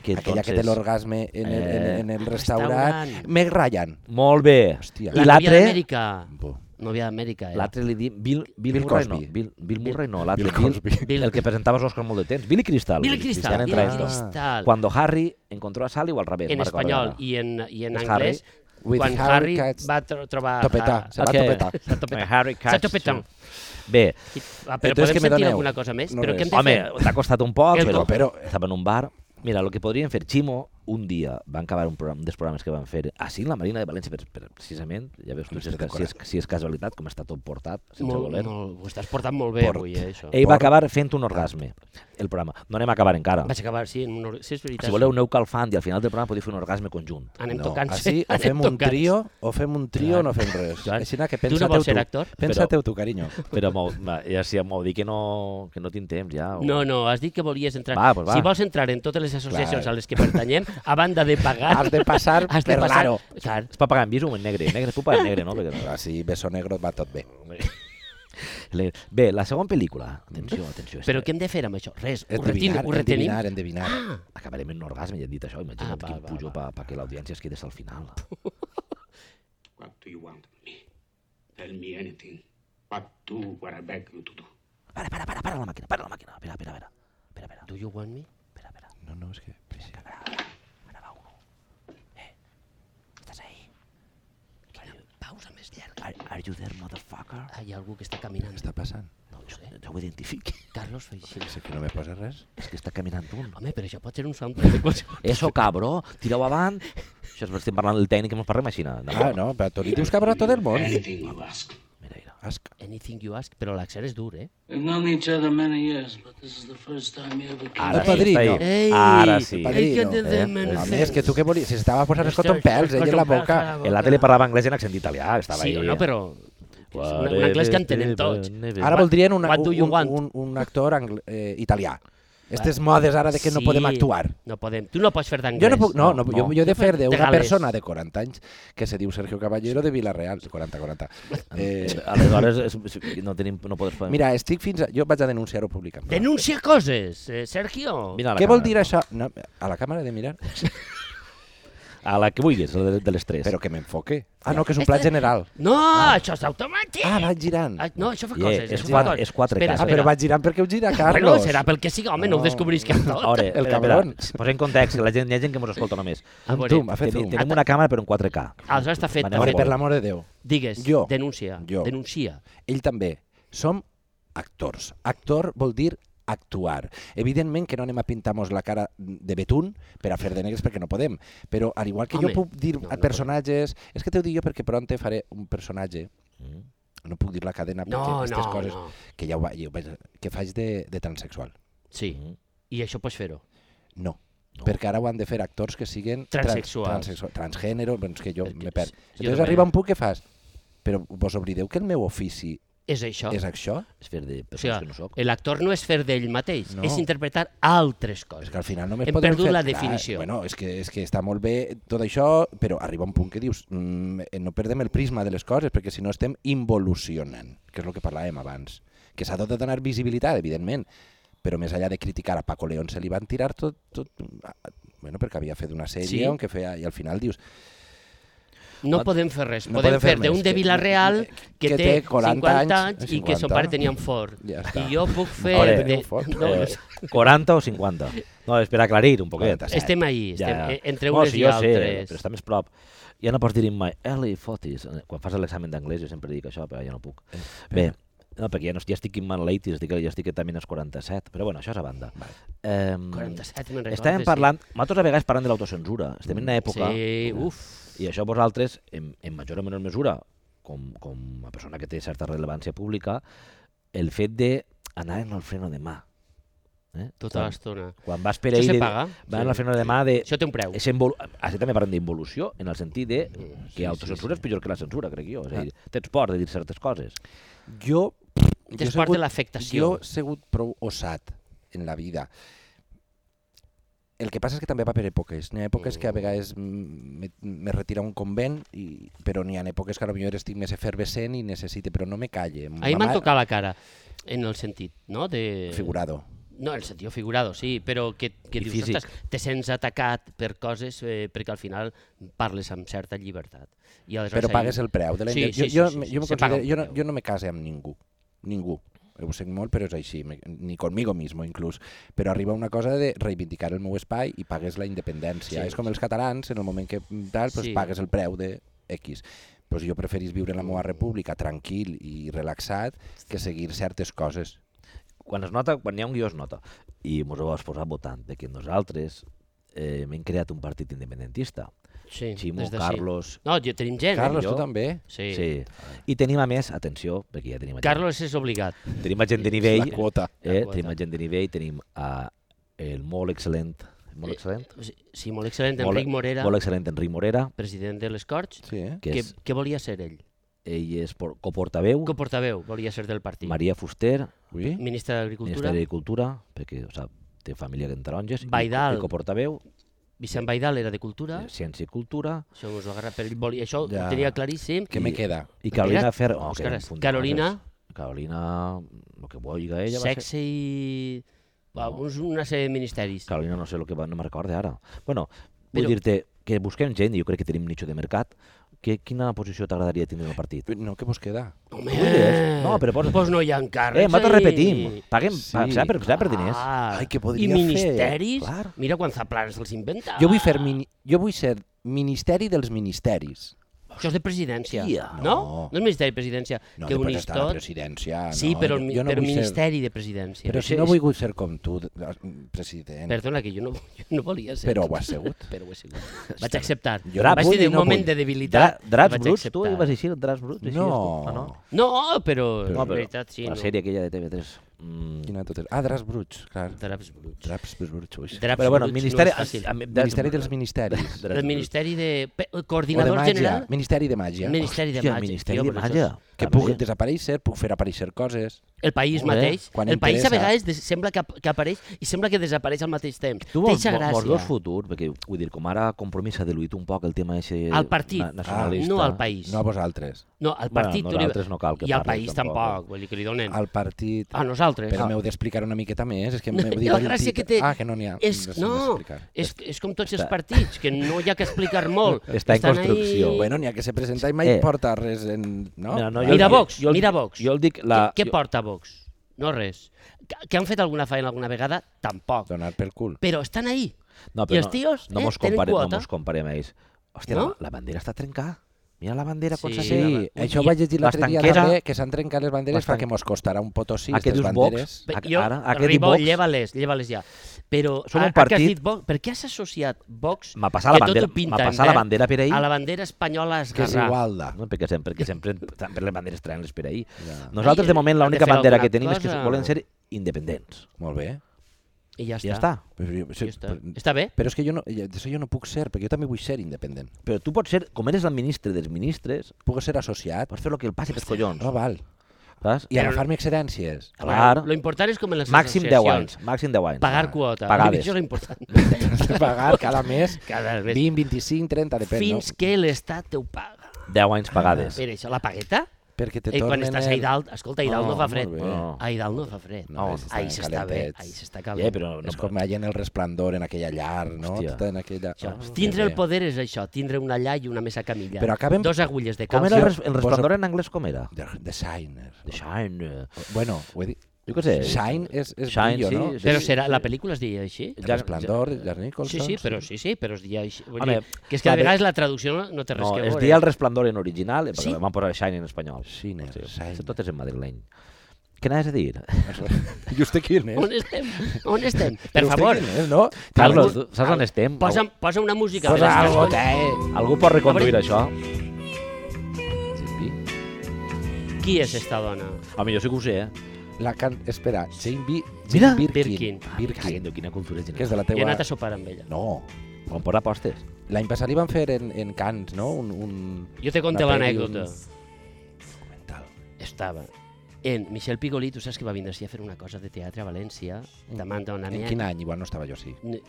que Aquella que té entonces- l'orgasme en, el- en, Eh, en el al restaurant. restaurant. Meg Ryan. Molt bé. Hòstia. I La novia l'altre... d'Amèrica. Bo. Novia d'Amèrica, eh? L'altre li diu Bill, Bill, Bill Murray, no. Cosby. Bill, Bill Murray, no. L'altre, Bill Bill, Cosby. Bill- el que presentava Oscar molt de temps. Billy Crystal. Billy Cristal. Cristian Billy entre ells dos. Cristal. Cuando Harry encontró a Sally o al revés. en Marc espanyol Barberà. i en, i en És anglès, With quan Harry Harry, Cats- va tro trobar... Topetar, Ha- se va Ok. topetar. S'ha topetat. Harry S'ha topetat. Bé, Ah, però Entonces, podem què me sentir doneu? alguna cosa més? No però res. què hem de home, fer? t'ha costat un poc, El però, cop. però estava en un bar. Mira, el que podrien fer, Ximo, un dia van acabar un, programa, un dels programes que van fer així en la Marina de València, per, per, precisament, ja veus tu si és, Aquesta si, és, si és casualitat, com està tot portat, sense Molt, voler. molt, ho estàs portant molt bé Port. avui, eh, això. Ell va acabar fent un orgasme, el programa. No anem a acabar encara. Vaig acabar, sí, en un... hor- sí és veritat. Si voleu, aneu calfant i al final del programa podeu fer un orgasme conjunt. Anem No, tocant-se. així o anem fem un tocant-se. trio, o fem un trio o no fem res. Joan, Així que tu no pensa-te-ho vols ser tu. actor? Pensa-te-ho tu, carinyo. Però m'ho- va, ja si m'ho dic que no, que no tinc temps, ja. o- No, no, has dit que volies entrar. Va, pues va. Si vols entrar en totes les associacions Clar. a les que pertanyem, a banda de pagar... Has de passar has de per passar- l'aro. Clar, Es pot pagar en vis o en negre. Negre, tu pagar en negre, no? Perquè... Així, beso negro va tot bé. Le- Bé, la segona pel·lícula. Atenció, atenció. però què hem de fer amb això? Res, ho retenim, Endevinar, ho retenim. endevinar, endevinar. Acabarem en un orgasme, ja he dit això. Imagina't Ah, va, quin va, pujó va. pa- perquè l'audiència es quedi al final. What do you want of me? Tell me anything. But do what I beg you to do. Para, para, para, para la màquina, para la màquina. Espera, espera, espera. Espera, espera. Do you want me? Espera, espera. No, no, és que... Ara va uno. Eh, estàs ahí? Quina pausa més llarga. Are, are you there, motherfucker? Ah, hi ha algú que està caminant. Què està passant? Ah, No, jo, jo ho identifiqui. Carlos Feixin. Sé que no me posa res. És que està caminant un. Home, però això pot ser un soundtrack de qualsevol... Eso, cabró, tireu avant. Això és, estem parlant del tècnic que mos parlem així. No? Ah, no, però tu li dius cabró a tot el món. Anything you ask. Mira, mira. Asc. Anything you ask, però l'accent és dur, eh? We've known each other many years, but this is the first time you ever came. Ara sí, El Ah, padrino. està ahí. Ei, Ara sí. el padrino. Ei, que te Eh? demano A fer- més, que tu què volies? Si estava posant els cotonpèls, ell en la boca. El l'altre li parlava anglès en accent italià, estava Sí, ahí. no, però... és Un, un anglès que entenen tots. Ara voldrien una, eh. What do you un, want? un, un actor angl- eh, italià. Estes modes ara de que no Sí, podem actuar. No podem. Tu no pots fer d'anglès. Jo no puc, no, no, jo, jo he de fer fer d'una gales. persona de 40 anys que se diu Sergio Caballero de Vilareal, 40-40. Eh, Eh, aleshores, és, és- no, tenim, no podes fer... mira, estic fins a... Jo vaig a denunciar-ho públicament. Denuncia coses, eh, Sergio. Mira a la Què càmera, vol dir això? No, a la càmera he de mirar? A la que vulguis, la de, de les tres. Però que m'enfoque. Ah, no, que és un plat general. No, això és automàtic. Ah, va girant. Ah, No, això fa Yeah, coses. és això fa quatre- coses. és quatre Espera, cases. Ah, espera. però va girant perquè ho gira, Bueno, Carlos. serà pel que sigui, home, no, ho No. descobrisquem tot. Ara, El espera, cabrón. espera, Posem en context, la gent, hi ha gent que mos escolta només. A Amb veure, zoom, ha fet Tenim, zoom. Ah, tenim una càmera, però en 4K. Aleshores està fet. Vale, està Home, fet. per l'amor de Déu. Digues, Jo. denuncia, Jo. denuncia. Ell també. Som actors. Actor vol dir actuar. Evidentment que no anem a pintar-nos la cara de betún per a fer de negres perquè no podem, però al igual que Home, jo puc dir no, a no Mm. personatges... És que t'ho dic jo perquè pront faré un personatge no puc dir la cadena perquè No, aquestes no, coses no. que ja ho, va- ja ho vaig, que faig de, de transexual. Sí, Mhm. i això pots fer-ho. No, no, perquè ara ho han de fer actors que siguen trans- Transsexuals. transsexua- transgènere, doncs que jo El que- me perd. jo Llavors també. arriba un punt que fas, però vos oblideu que el meu ofici És això. és això? És fer de o persones sigui, que no soc. l'actor no és fer d'ell mateix, No. és interpretar altres coses. És que al final només Hem podem perdut fer... la Clar, definició. Bueno, és que, és que està molt bé tot això, però arriba un punt que dius mm, eh, no perdem el prisma de les coses perquè si no estem involucionant, que és el que parlàvem abans. Que s'ha de donar visibilitat, evidentment, però més enllà de criticar a Paco León se li van tirar tot, tot ah, bueno, perquè havia fet una sèrie Sí. sí. on que feia, i al final dius No No- podem fer res. no podem podem fer fer d'un més, de que- Vilareal que, que té té 40 50 anys, anys i que son 50. pare tenia un Ford. Ja I està. jo puc fer... Ole, de... tenia un Ford. No, Eh, 40 o 50? No, espera, aclarir un poquet. Quaranta-set. estem ahí, Ja, estem ja. eh, entre No, unes sí, i jo sé, altres. però està més prop. Ja no pots dir mai, Eli Fotis. eh, Quan fas l'examen d'anglès jo sempre dic això, però ja no puc. Eh, Bé, no, perquè ja, no, ja estic in man late, estic, ja estic també en els 47, però bueno, això és a banda. Eh, 47, me'n recordo. Estàvem parlant, nosaltres a vegades parlem de l'autocensura, estem en una època, Mm, Sí, uf. i això vosaltres, en, en major o menor mesura, com, com a persona que té certa rellevància pública, el fet d'anar en el freno de mà. Eh? Tota quan, l'estona. quan vas per Això ahí... se de- paga. Va en el Sí. freno de mà de... Això té un preu. És envol... Així també parlem d'involució, en el sentit de que sí, autocensura sí, sí. és pitjor que la censura, crec jo. És a dir, tens por de dir certes coses. jo... jo Tens he part de sigut- l'afectació. Jo he sigut prou osat en la vida. El que passa és que també va per èpoques. N'hi ha èpoques que a vegades mm, me, me retira un convent, i, però n'hi ha èpoques que potser estic més efervescent i necessite, però no me calle. A mi m'han tocat la cara, en el sentit, no? De... Figurado. No, en sentit figurado, sí, però que, que I dius, físic. ostres, te sents atacat per coses eh, perquè al final parles amb certa llibertat. I aleshores Però ahí- pagues el preu de la Sí, inter- sí, sí, jo, sí, jo, sí, jo, me se paga considero- jo, un no, preu. jo no me case amb ningú. Ningú. Ho sé molt, però és així. me- Ni conmigo mismo, inclús. Però arriba una cosa de reivindicar el meu espai i pagues la independència. Sí. és com els catalans, en el moment que mm, tal, pues, Sí. pagues el preu de X. Pues jo preferís viure en la Mm. meva república tranquil i relaxat que seguir certes coses. quan es nota, quan hi ha un guió es nota. I mos ho vas posar votant, de que nosaltres eh, hem creat un partit independentista. Sí, Ximo, des de sí. Carlos... No, jo tenim gent. Carlos, eh, jo. tu també? Sí. Sí. sí. I tenim a més, atenció, perquè ja tenim a gent, Carlos és obligat. tenim a gent de La nivell, quota. eh, quota. tenim a gent de nivell, tenim a el molt excel·lent, molt Eh, excel·lent? Sí, sí molt excel·lent. Molt- Enric Morera, Molt excel·lent Enric Morera, president de les Corts. Sí, eh? que Què, és, què volia ser ell? ell és por- coportaveu, Coportaveu, volia ser del partit. Maria Fuster, Ui. Ministre d'Agricultura, Ministeri de Cultura, perquè o sap, té família en taronges, i- Baidal. i coportaveu, eh, Vicent Baidal era de Cultura, Ciència i Cultura, això us ho agarra per ell, volia, això Ja. ho tenia claríssim. Què me queda? I Carolina Espera't, Ferro. Òscar, queda oh, un punt de Carolina. coses. Carolina, lo que vulgui ella va ser... Sexe i... Va, No. uns, una sèrie de ministeris. Carolina no sé el que va, no me'n recordo ara. Bueno, vull Però- dir-te que busquem gent, i jo crec que tenim nicho de mercat, que, quina posició t'agradaria tindre en el partit? No, què vos queda? Home, dius? No, però posa- Pues no hi ha Eh, càrrecs. nosaltres repetim, paguem, Sí, sí, serà, per, serà per diners. Ai, què Ah. I podria fer? ministeris? Clar. Mira quan Zaplana se'ls inventa. Jo vull, fer mini... jo vull ser ministeri dels ministeris. Això és de presidència. Tia. No? No. No és ministeri de presidència. No, que que unís estar a la tot. presidència. Sí, no, però, jo- mi- jo no però vull ser- ministeri de presidència. Però si Això no és- vull ser com tu, de- president. Perdona, que jo no, jo no volia ser. Però ho has sigut. Però ho he sigut. Vaig acceptar. Jo Jo vaig vull tenir i un no moment vull. de debilitat. Dra, draps vaig bruts, tu acceptar. vas aixir draps bruts? eixies No. tu? Ah, no. No, però... No, en però veritat, sí, la no. sèrie aquella de TV3. Mm. Quina tot és? Ah, draps bruts, clar. Draps bruts. Draps bruts. ui. Draps Però bueno, bruts ministeri... No és fàcil. a- a- de- Ministeri dels ministeris. Draps El Ministeri de... pe- O el de Coordinador màgia. General... Ministeri de màgia. Ministeri de Hòstia, Màgia. Ministeri tio, de però això Màgia. és- Que També. puc desaparèixer, puc fer aparèixer coses. El país Molt bé. mateix. Quan el país a interessa. vegades des- sembla que, ap- que apareix i sembla que desapareix al mateix temps. Tu Tu vols, Té vols, gràcia. vols dos futurs, perquè vull dir, com ara Compromís ha diluït un poc el tema eixe Al partit, na- nacionalista. no al país. No a vosaltres. No, al partit... tu li- nosaltres no cal que I al parli, país tampoc. tampoc. Vull dir que li donen... Al partit... A nosaltres. Ah. Però m'heu d'explicar una miqueta més. És que m'heu dit... la gràcia que té Ah, que no n'hi ha. és, sé no, d'explicar. és, és com tots els partits, que no hi ha que explicar molt. Està en Estan construcció. ahí- Bueno, n'hi ha que se presenta i mai Eh. porta res en... No? Mira, no, jo- mira Vox, jo el- mira Vox. jo el dic la- Què, què jo- porta Vox? No res. Que, que han fet alguna feina alguna vegada? Tampoc. Donar pel cul. Però estan ahí. No, I els tios, no eh, mos tenen compare, quota. No mos comparem a ells. Hòstia, No? la, la bandera està trencada. Mira la bandera, com Sí, s'ha Sí, fet. la- això i ho vaig llegir l'altre dia l'estanquera- també, que s'han trencat les banderes fa l'estan- que mos costarà un potosí Ah, que aquestes dius Vox? banderes. Pe- Ac- Jo, ara, ara, ara que diu Ribó, Vox- lleva-les, lleva-les ja. Però Som a- un a que has partit- dit Vox, per què has associat Vox M'ha passat la que tot ho bandera- pinta m'ha en passat la verd, bandera per ahí. A la bandera espanyola Que és esgarrà. igualda. No, perquè sempre, perquè sempre, sempre les banderes traen les per ahir. Ja. Nosaltres, de Ai, moment, han de l'única fer bandera alguna que tenim és que cosa. volen ser independents. Molt bé. I ja està. Ja està. Però, jo- sí, Ja està. però- està bé? però és que jo no, ja- d'això jo no puc ser, perquè jo també vull ser independent. Però tu pots ser, com eres el ministre dels ministres, Puc ser associat. pots fer el que el passi pels collons. doncs. No val. Saps? I agafar-me excedències. Clar. Lo important és com en les Màxim 10 associacions. anys. Màxim 10 anys. Pagar quota. Pagades. Això és l'important. Pagar cada mes Cada mes. 20, 25, 30, depèn. Fins no? que l'Estat te ho paga. 10 anys pagades. Per això, la pagueta? Perquè te I Eh, quan tornen... estàs el- ahí dalt, escolta, ahí dalt Oh, no fa molt fred. bé. No. Ahí dalt no fa fred. No, Oh, estan ahí s'està bé, calentets. ahí s'està calent. Eh, però no, És com allà en el resplendor, en aquella llar, no? Hòstia. Tota en aquella... Això. Oh, tindre que el bé. poder és això, tindre una allà i una mesa camilla. Però acabem- Dos agulles de Com calç. era el, Jo res, el poso- resplandor en anglès, com era? The, the Shiner. The Shine. eh, Bueno, ho he dit. Jo què sé. Shine és, és Shine, brillo, sí, no? sí. Però serà, la pel·lícula es deia així? El Resplandor, Jack Sí, Nicholson. sí, però sí, sí, però es deia així. Vull Home, dir, que és que va a bé. vegades la traducció no, no té res No, que es veure. deia el resplandor en original, eh, perquè Sí? sí? van posar Shine en espanyol. Shiner, Sí, Shiner. Tot és en madrileny. Què anaves a dir? I vostè quin és? On estem? On estem? Per Però vostè favor, Quin és, no? Carlos, tu saps on estem? posa, posa una música. Posa Però algo, escolta, eh? Algú, algú pot reconduir Obre. això? Qui és esta dona? Home, jo sí que ho sé, eh? La can... Espera, Jane B... Mira! Jane Birkin. Birkin. Caguendo, quina cultura que és general. de la Jo he teua... anat a sopar amb ella. No. On posa apostes? L'any passat li van fer en, en Cans, no? Un, un... Jo te conto una peli, l'anècdota. documental. Estava en Michel Pigolí, tu saps que va vindre així a fer una cosa de teatre a València, demanda una En mia... quin any? Igual no estava jo, sí. Ne-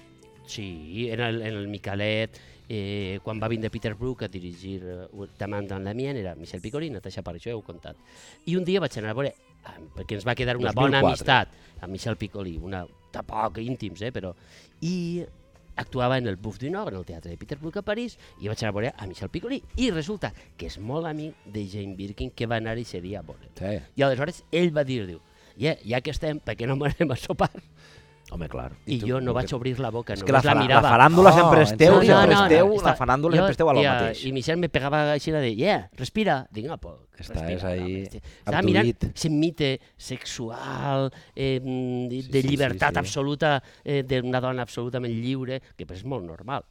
Sí, en el, en el Micalet, eh, quan va vindre Peter Brook a dirigir eh, Tamanda en la Mien, era Michel Picolín, Natasha Parra, això ja ho he contat. I un dia vaig anar a veure amb- perquè ens va quedar una 2004. bona amistat amb Michel Piccoli, una tampoc íntims, eh, però... I actuava en el Buff du Nord, en el teatre de Peter Brook a París, i vaig anar a veure a Michel Piccoli, i resulta que és molt amic de Jane Birkin, que va anar ese dia a veure. Sí. I aleshores ell va dir, diu, yeah, ja que estem, per què no m'anem a sopar? Home, clar. I, jo no vaig obrir la boca, És no que la, fa- la la mirava. faràndula Oh, sempre en és teu, sèrio? sempre No, no, és no, teu, la estava- faràndula jo- sempre és teu a lo tia, mateix. I Michel me pegava així de, yeah, respira. Dic, no, poc, Estàs respira. ahí, home, este- Estava abduït. mirant ese mite sexual, eh, mm, de, Sí, sí, de sí, llibertat sí. absoluta, eh, d'una dona absolutament lliure, que és molt normal.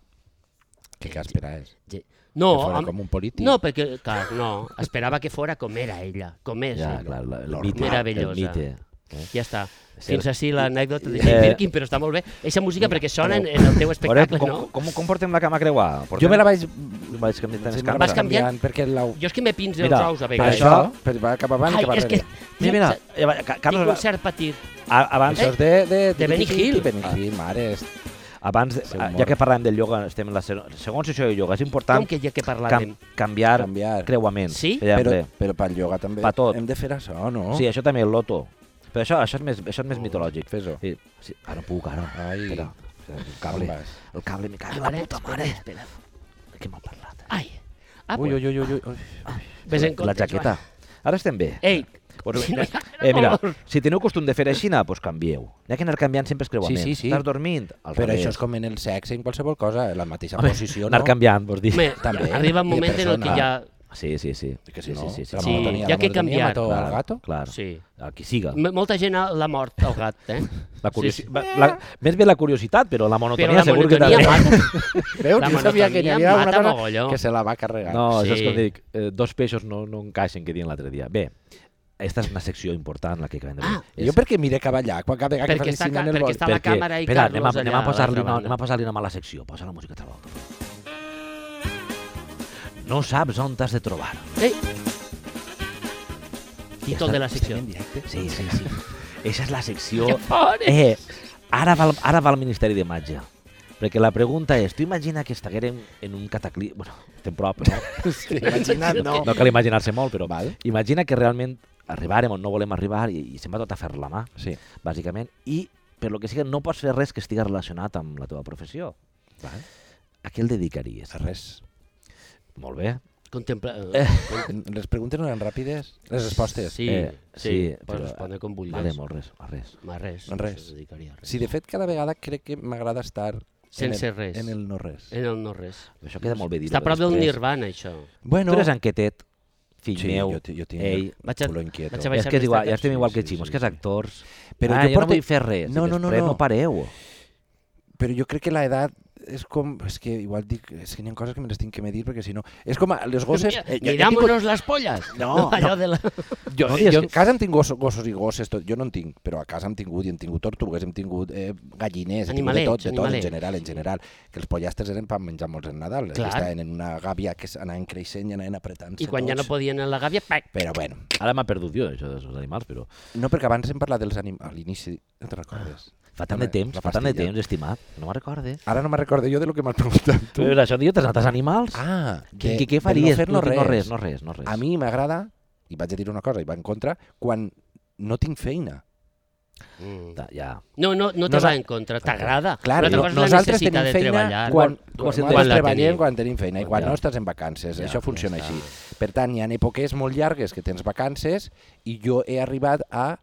Què que esperaves? Ge- No, Que fora home, com un polític. No, perquè, clar, no, esperava que fora com era ella, com és. Ja, ella. clar, la, el Normal. mite. El Meravellosa. mite. Ja està. Sí. Fins així l'anècdota de Eh, Jane Birkin, però està molt bé. Eixa música perquè sona en, en el teu Veurem espectacle, com, no? com, com portem la cama creuada? Portem... Jo me la vaig... vaig canviar tant me la escampa. Vas canviant? perquè la... Jo és que me pinzo els Mira, ous a Per vegades. això, per, va cap avant, Ai, cap és que... arrere. Mira, mira, tinc- ja va, Ca- Tinc un Carlos, cert patir. a- abans, Això és de... De, de Benny Hill. Benny Hill, mare. és- abans Seu ah, ja mort. que parlem del ioga, estem en la se- segona sessió de ioga, és Com important que ja que parlàvem. cam canviar, Canviar. creuaments. Sí? Sempre. Però, Oh. però pel ioga també. Pa tot. Hem de fer això, no? Sí, això també, el loto. Però això, això és més, això és més mitològic. Fes-ho. Sí, sí. Ara no puc, ara. Ai. Espera. El On cable, vas? el cable, me cago en Ara, la puta espera, mare. espera. De què m'ha parlat? Ai. Ah, Ui, ui, ui, ui, ui, ui. Ves en compte, la jaqueta. Ara estem bé. Joan. Ei, Pues, Si no hi ha eh, mira, amor. si teniu costum de fer així, doncs pues canvieu. Hi ha que anar canviant sempre els creuaments. Sí, sí, sí. Estàs dormint? Al Però revés. això és com en el sexe, en qualsevol cosa, en la mateixa Home, posició, no? anar canviant, vols dir. me, També, arriba un i de moment en el que persona. ja... Sí, sí, sí. Que sí, no? no? sí, sí, La sí. monotonia, hi ha la que monotonia canviar. mató al gato. Clar. Sí. Sí. El qui siga. M- Molta gent ha- l'ha mort, el gat, eh? La curiosi... Sí, sí. va- la... Més bé la curiositat, però la monotonia Però la segur que monotonia mata. Veus? La Jo sabia que n'hi havia monotonia una mata cosa mogolló. que se la va carregar. No, Sí. saps com dic? Eh, dos peixos no, no encaixen, que dient l'altre dia. Bé, aquesta és una secció important, la que acabem de veure. Ah, Jo perquè mire cap allà, quan cap vegada Perquè que està faci ca- en el perquè vol. està la càmera i espera, anem a, Carlos anem allà a a posar-li l'altra una, banda. anem a posar-li una mala secció. Posa la música altra volta. No saps on t'has de trobar. Ei. Títol de la secció. Sí, sí, sí. Eixa és la secció... Que fort! Eh, ara va, al- ara va al Ministeri de Màgia. Perquè la pregunta és, tu imagina que estiguérem en un cataclisme... Bueno, estem prop, no? Imagina't, no. Oh. No cal imaginar-se molt, però... Val. Imagina que realment arribarem on no volem arribar i, i se'n va tot a fer la mà, Sí. bàsicament, i per lo que sigui no pots fer res que estiga relacionat amb la teva professió. Val. A què el dedicaries? Res. Molt bé. Contempla... Eh. Les preguntes no eren ràpides? Les respostes? Sí, Eh, sí. sí, Pots però- eh, respondre com vulguis. Vale, molt res, a res. Ma res. Doncs res. No se dedicaria a res. Sí, de fet, cada vegada crec que m'agrada estar... Sense en el, res. En el no res. En el Eh, no res. Això queda molt bé dir-ho. Està a prop del després. nirvana, això. Tu Bueno, eres enquetet, fill sí, meu. jo, ti- jo tinc Ei, el vaig a- culo inquieto. vaig a- és que és igual, ja estem Sí, igual que sí, Ximo, és sí, que és sí. actors. Però ah, jo jo no porto- vull fer res. No, i no, no, després no. no pareu. Però jo crec que la edat és com... És que igual dic... És que n'hi ha coses que me les tinc que medir perquè si no... És com a les gosses... eh, jo- jo tinc Mirámonos las pollas. No, allò de la... Jo, No no, digues jo que- a casa hem tingut gossos, gossos i gosses, tot. jo no en tinc, però a casa hem tingut, i hem tingut tortugues, hem tingut eh, galliners, hem tingut de Animalets, tot, de tot, en animalets. general, en general. Que els pollastres eren per menjar molts en Nadal, Clar. Clar. estaven en una gàbia que s- anaven creixent i anaven apretant-se I quan ja no tots. podien anar a la gàbia, pac! Però bueno, Ara m'ha perdut jo, això dels animals, però... no perquè abans hem parlat dels animals, a l'inici, no te'n recordes? Fa tant de Home, temps, la fa tant de pastilla. temps, estimat. No me'n recordes. Ara no me recordo jo de lo que m'has preguntat Tu tu. eres això, tio, t'has anat als animals? Ah, Eh, Què, de- què, què de faries? No fer-no tu? res. no res, no res, no res. A mi m'agrada, i vaig a dir una cosa, i va en contra, quan no tinc feina. Mm. Ta- Ja. No, no, no te Nosa- va en contra, t'agrada. Clar, Una no, altra cosa és la nosaltres necessitat tenim de feina treballar. quan, quan, Quan la quan, tenim. treballem quan tenim feina i Quan quan ja. no estàs en vacances. Ja, Això funciona ja està. així. Per tant, hi ha èpoques molt llargues que tens vacances i jo he arribat a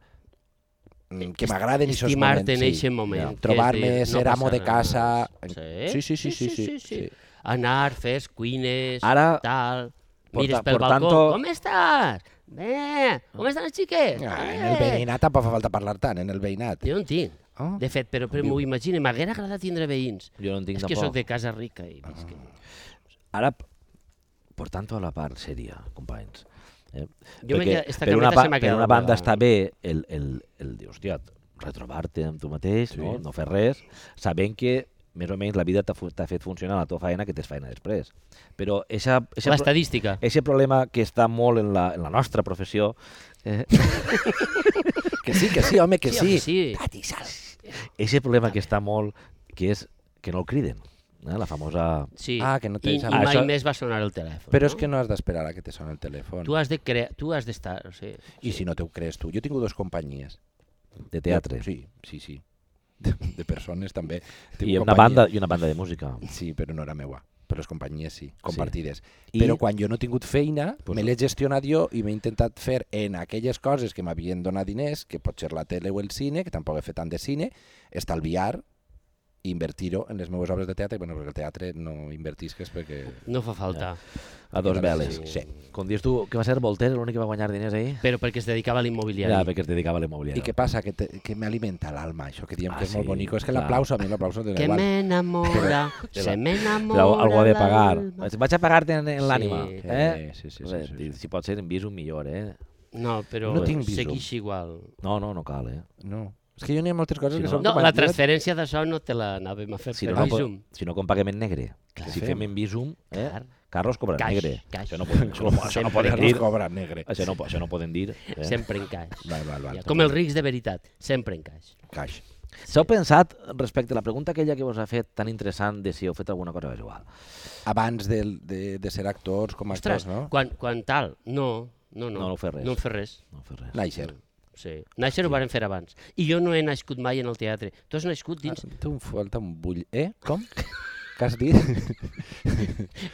mm, que m'agraden aquests moments. Estimar-te en sí. aquest moment. que és Trobar-me, dir, no ser amo passa de casa. res. Sí, sí, sí, sí, sí, sí. Anar, fes, cuines, Ara- tal... Por Mires ta- pel por balcó, tanto- com estàs? Bé, com estan els xiquets? Ah, en Eh. el veïnat tampoc fa falta parlar tant, en el veïnat. Jo no en tinc. Oh. De fet, però, però m'ho imagino, m'haguera agradat tindre veïns. Jo no en tinc És que tampoc. sóc de casa rica i visc. en- Ah. Ara, portant-ho a la part sèria, companys. Eh? Jo m'he quedat- esta per una, cameta ba- se m'ha per quedat una banda blava. està bé el, el, el de, hòstia, retrobar-te amb tu mateix, no? no fer res, sabent que més o menys la vida t'ha fu- t'ha fet funcionar la teva feina que tens feina després. Però eixa, eixa, pro- L'estadística. Eh, eixe problema que està molt en la, en la nostra professió eh, Que sí, que sí, home, que Sí, home, Ah, sí. sí. Tati, sal. Ese problema que està molt, que és que no el criden. eh? la famosa... Sí. Ah, que no I, té i esa- mai Això- més va sonar el telèfon. Però no? és que no has d'esperar a que te soni el telèfon. Tu has de crear, tu has d'estar, o sigui, I si no te ho creus tu. Jo he tingut dues companyies. de teatre. Sí, sí, sí. De, de persones també. I Tinc una, companyia- banda, I una banda de música. Sí, però no era meua. Però les companyies sí, compartides. I... Però quan jo no he tingut feina, pues... me l'he gestionat jo i m'he intentat fer en aquelles coses que m'havien donat diners, que pot ser la tele o el cine, que tampoc he fet tant de cine, estalviar i invertir-ho en les meves obres de teatre. Bueno, perquè el teatre no invertisques perquè... no fa falta. A dos Sí. veles. Sí. Com dius tu, que va ser Voltaire l'únic que va guanyar diners ahir? Però perquè es dedicava a l'immobiliari. Ja, perquè es dedicava a l'immobiliari. I què passa? Que, te, que m'alimenta l'alma, això que diem Ah, que és molt sí, bonic. És que clar. l'aplauso, a mi l'aplauso de que igual. m'enamora, se m'enamora. Però algú ha de pagar. l'alma. Vaig a pagar-te en, en Sí. l'ànima. Sí, Eh? sí, sí, sí, Bé, sí, sí. Si pot ser en visum, millor, eh? No, però No tinc visum. seguix igual. No, no, no cal, eh? No. És que jo n'hi ha moltes coses Si que no- són No, com a la anècdota. transferència de so no te l'anàvem a fer Si per no, no, Bizum. po- si no com paguem en negre. Clar. si fem en visum, eh? Clar. Carlos cobra en Cash, negre. cash. Això no, poden, això, no, això no Sempre. poden dir. cobra negre. Això no, po- això no poden dir. Eh? Sempre en caix. Val, val, val. Ja, com els rics de veritat, sempre en caix. Caix. S'heu pensat, respecte a la pregunta aquella que vos ha fet tan interessant de si heu fet alguna cosa visual? Abans de, de, de ser actors, com a actors, Ostres, no? quan, quan tal, no, no, no. No, no fer res. No fer res. No fes res. Nàixer. Sí. Nàixer ho varen fer abans. I jo no he nascut mai en el teatre. Tu has nascut dins... ah, Té un falta un bull. Eh? Com? Què has dit?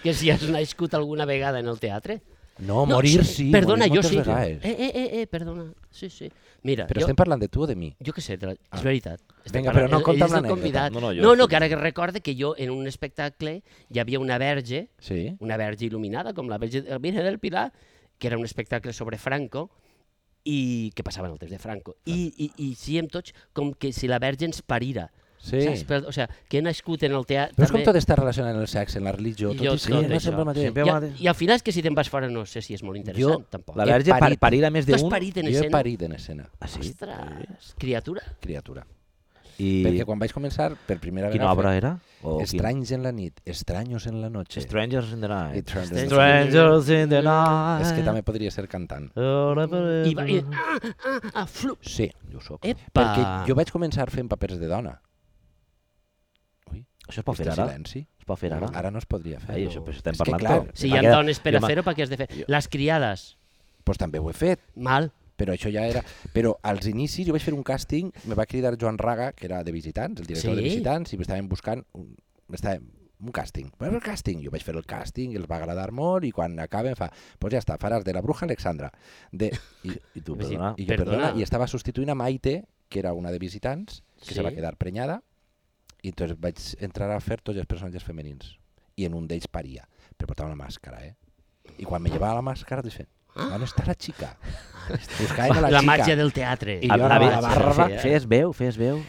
Que si has nascut alguna vegada en el teatre... No, morir sí. Perdona, morir jo moltes sí. Vegades. Eh, eh, eh, eh, perdona. Sí, sí. Mira, Però jo, estem parlant de tu o de mi? jo què sé, de la... és veritat. Estem Vinga, però no ell- conta'm ell és el l'anècdota. convidat. No, No no, no, jo- no, no, que ara que recorde que jo en un espectacle hi havia una verge, Sí. una verge il·luminada, com la verge la Virgen del Pilar, que era un espectacle sobre Franco, i que passava en el temps de Franco. I, i, i sí, amb tots, com que si la verge ens parira. Sí. Saps? Però, o sigui, que he nascut en el teatre... Veus com tot està relacionat amb el sexe, amb la religió, I tot jo és, tot no això. sempre el mateix. Sempre- I, a- I al final és que si te'n vas fora no sé si és molt interessant, tampoc. La He verge par parit. parir a més Tu has d'un. parit en Jo he escena? parit en escena, Ah, sí? Ostres, criatura. criatura. I Perquè quan vaig començar, per primera quina obra eh? vegada... era? O quin- Estranys en la nit, estranyos en la noche. Strangers in the I Night. Strangers in the Night. Strangers in the Night. És que també podria ser cantant. eh, I va... I, ah, ah, ah, flu. Sí, Jo soc. Epa. perquè jo vaig començar fent papers de dona. Això es pot fer Este ara? silenci. Es pot fer ara? Ara no es podria fer. Ai, això però estem És que, parlant... clar, però- me Si hi ha queda- dones per jo a me- fer-ho, per què has de fer? Les criades, Pues també ho he fet, mal. però això ja era... Però als inicis jo vaig fer un càsting, me va cridar Joan Raga, que era de Visitants, el director Sí? de Visitants, i m'estaven buscant un, m'estaven, un càsting. Però el càsting, jo vaig fer el càsting, els va agradar molt, i quan acaba em fa, pues ja està, faràs de la bruja Alexandra. De... I, I tu, Sí, sí. perdona. I jo, Perdona. perdona. i estava substituint a Maite, que era una de visitants, que Sí. se va quedar prenyada, i entonces vaig entrar a fer tots els personatges femenins. I en un d'ells paria, però portava una màscara, eh? I quan me llevava la màscara, vaig fer, on està la xica? Buscàvem a la, La, xica. màgia del teatre. I Ah, jo anava mira, a la barba. eh? fe- Fes veu, fes veu.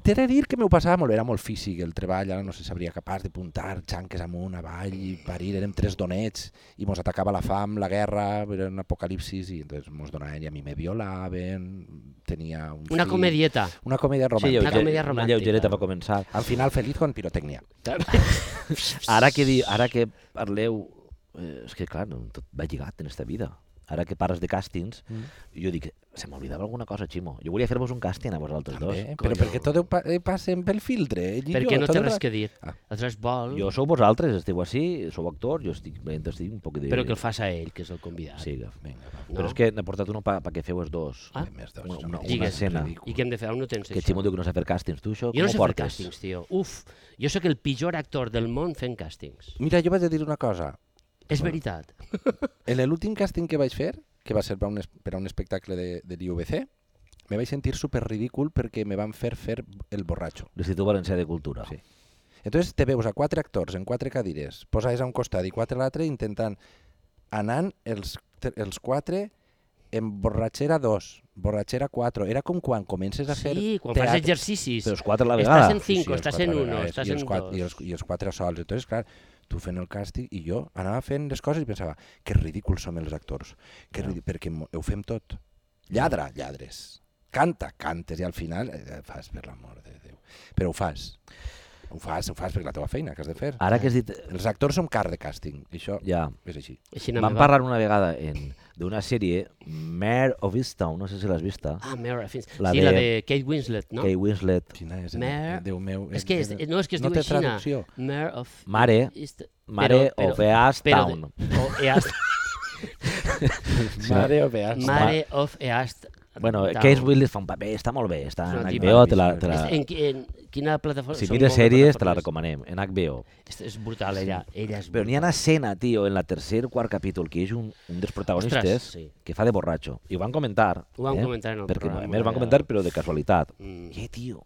T'he de dir que m'ho passava molt bé, era molt físic el treball, ara no se sabria capaç de puntar xanques amunt, avall, i parir, érem tres donets, i mos atacava la fam, la guerra, era un apocalipsis, i entonces mos donaven, i a mi me violaven, tenia un Una fill. comedieta. Una comèdia romàntica. lleuger- Una comèdia Una romàntica. lleugereta per començar. Al final, feliz con Eh, pirotècnia. Ara que, di, ara que parleu... eh, És que, clar, no, tot va lligat en esta vida. Ara que parles de càstings, Mm. jo dic, se m'oblidava alguna cosa, Ximo. Jo volia fer-vos un càsting a vosaltres També, dos. però perquè tot ho pa eh, passen pel filtre. Ell i Perquè jo, no tot té ho res pa- que dir. Ah. Aleshores vol, Jo sou vosaltres, esteu així, sou actors, jo estic, estic un poc de... però que el faça ell, que és el convidat. Sí, que... Vinga, va, Però No? és que n'he portat uno perquè pa que feu els dos. Ah. fem més dos. Una- no una- m'ho una diguis, escena. ridícul. I què hem de fer? Aún no tens Que això. Ximo diu que no sap fer càstings. Tu això Jo no com sé ho fer portes? càstings, tio. Uf, jo sóc el pitjor actor del món fent càstings. Mira, jo vaig a dir una cosa. És veritat. En l'últim càsting que vaig fer, que va ser per un, es- per a un espectacle de, de l'IVC, me vaig sentir super ridícul perquè me van fer fer el borratxo. L'Institut Valencià de Cultura. Sí. Entonces te veus a quatre actors en quatre cadires, posades a un costat i quatre a l'altre, intentant anant els, tre- els quatre en borratxera 2, borratxera 4. Era com quan comences a fer Sí, quan fas teatre. exercicis. Però els quatre a la Estàs vegada. en cinco, els estàs quatre en a la uno, vegada, estàs i en els quatre, dos. I els, I els quatre sols. Entonces, clar, tu fent el càstig i jo anava fent les coses i pensava que ridículs som els actors, que ridí... perquè mo- ho fem tot. Lladra, eh, lladres. Canta, cantes i al final eh, fas per l'amor de Déu. Però ho fas. Ho fas, ho fas perquè la teva feina que has de fer. Ah. Ara que has dit... Els actors som car de càsting, i això ja. Ja, és així. Així no Vam me va. parlar una vegada en- d'una sèrie, Mare of Easttown, no sé si l'has vista, Ah, Mare, fins... La sí, de- la de Kate Winslet, no? Kate Winslet, Quina és? Mer- Déu meu. eh? És que, és, eh, no, és que es no diu té així. traducció. Mare of... Mare. East... Mare però- of Easttown. Però, de- o East, Mare o beat. Mare of East... Bueno, Town. Kate Winslet fa un paper, està molt bé, està És en una tipa. HBO, te la, te la... És- En, qui- en quina plataforma? Si són mires moltes sèries, te la plataformes. recomanem, en HBO. És, és brutal, ella. Ella és Però n'hi ha una escena, tio, en la tercer o quart capítol, que és un, un dels protagonistes Ostres, sí. que fa de borratxo. I ho van comentar. eh? Ho van comentar en el perquè, programa, A més, ho van ja. comentar, però de casualitat. Mm. Mm. Eh, tio,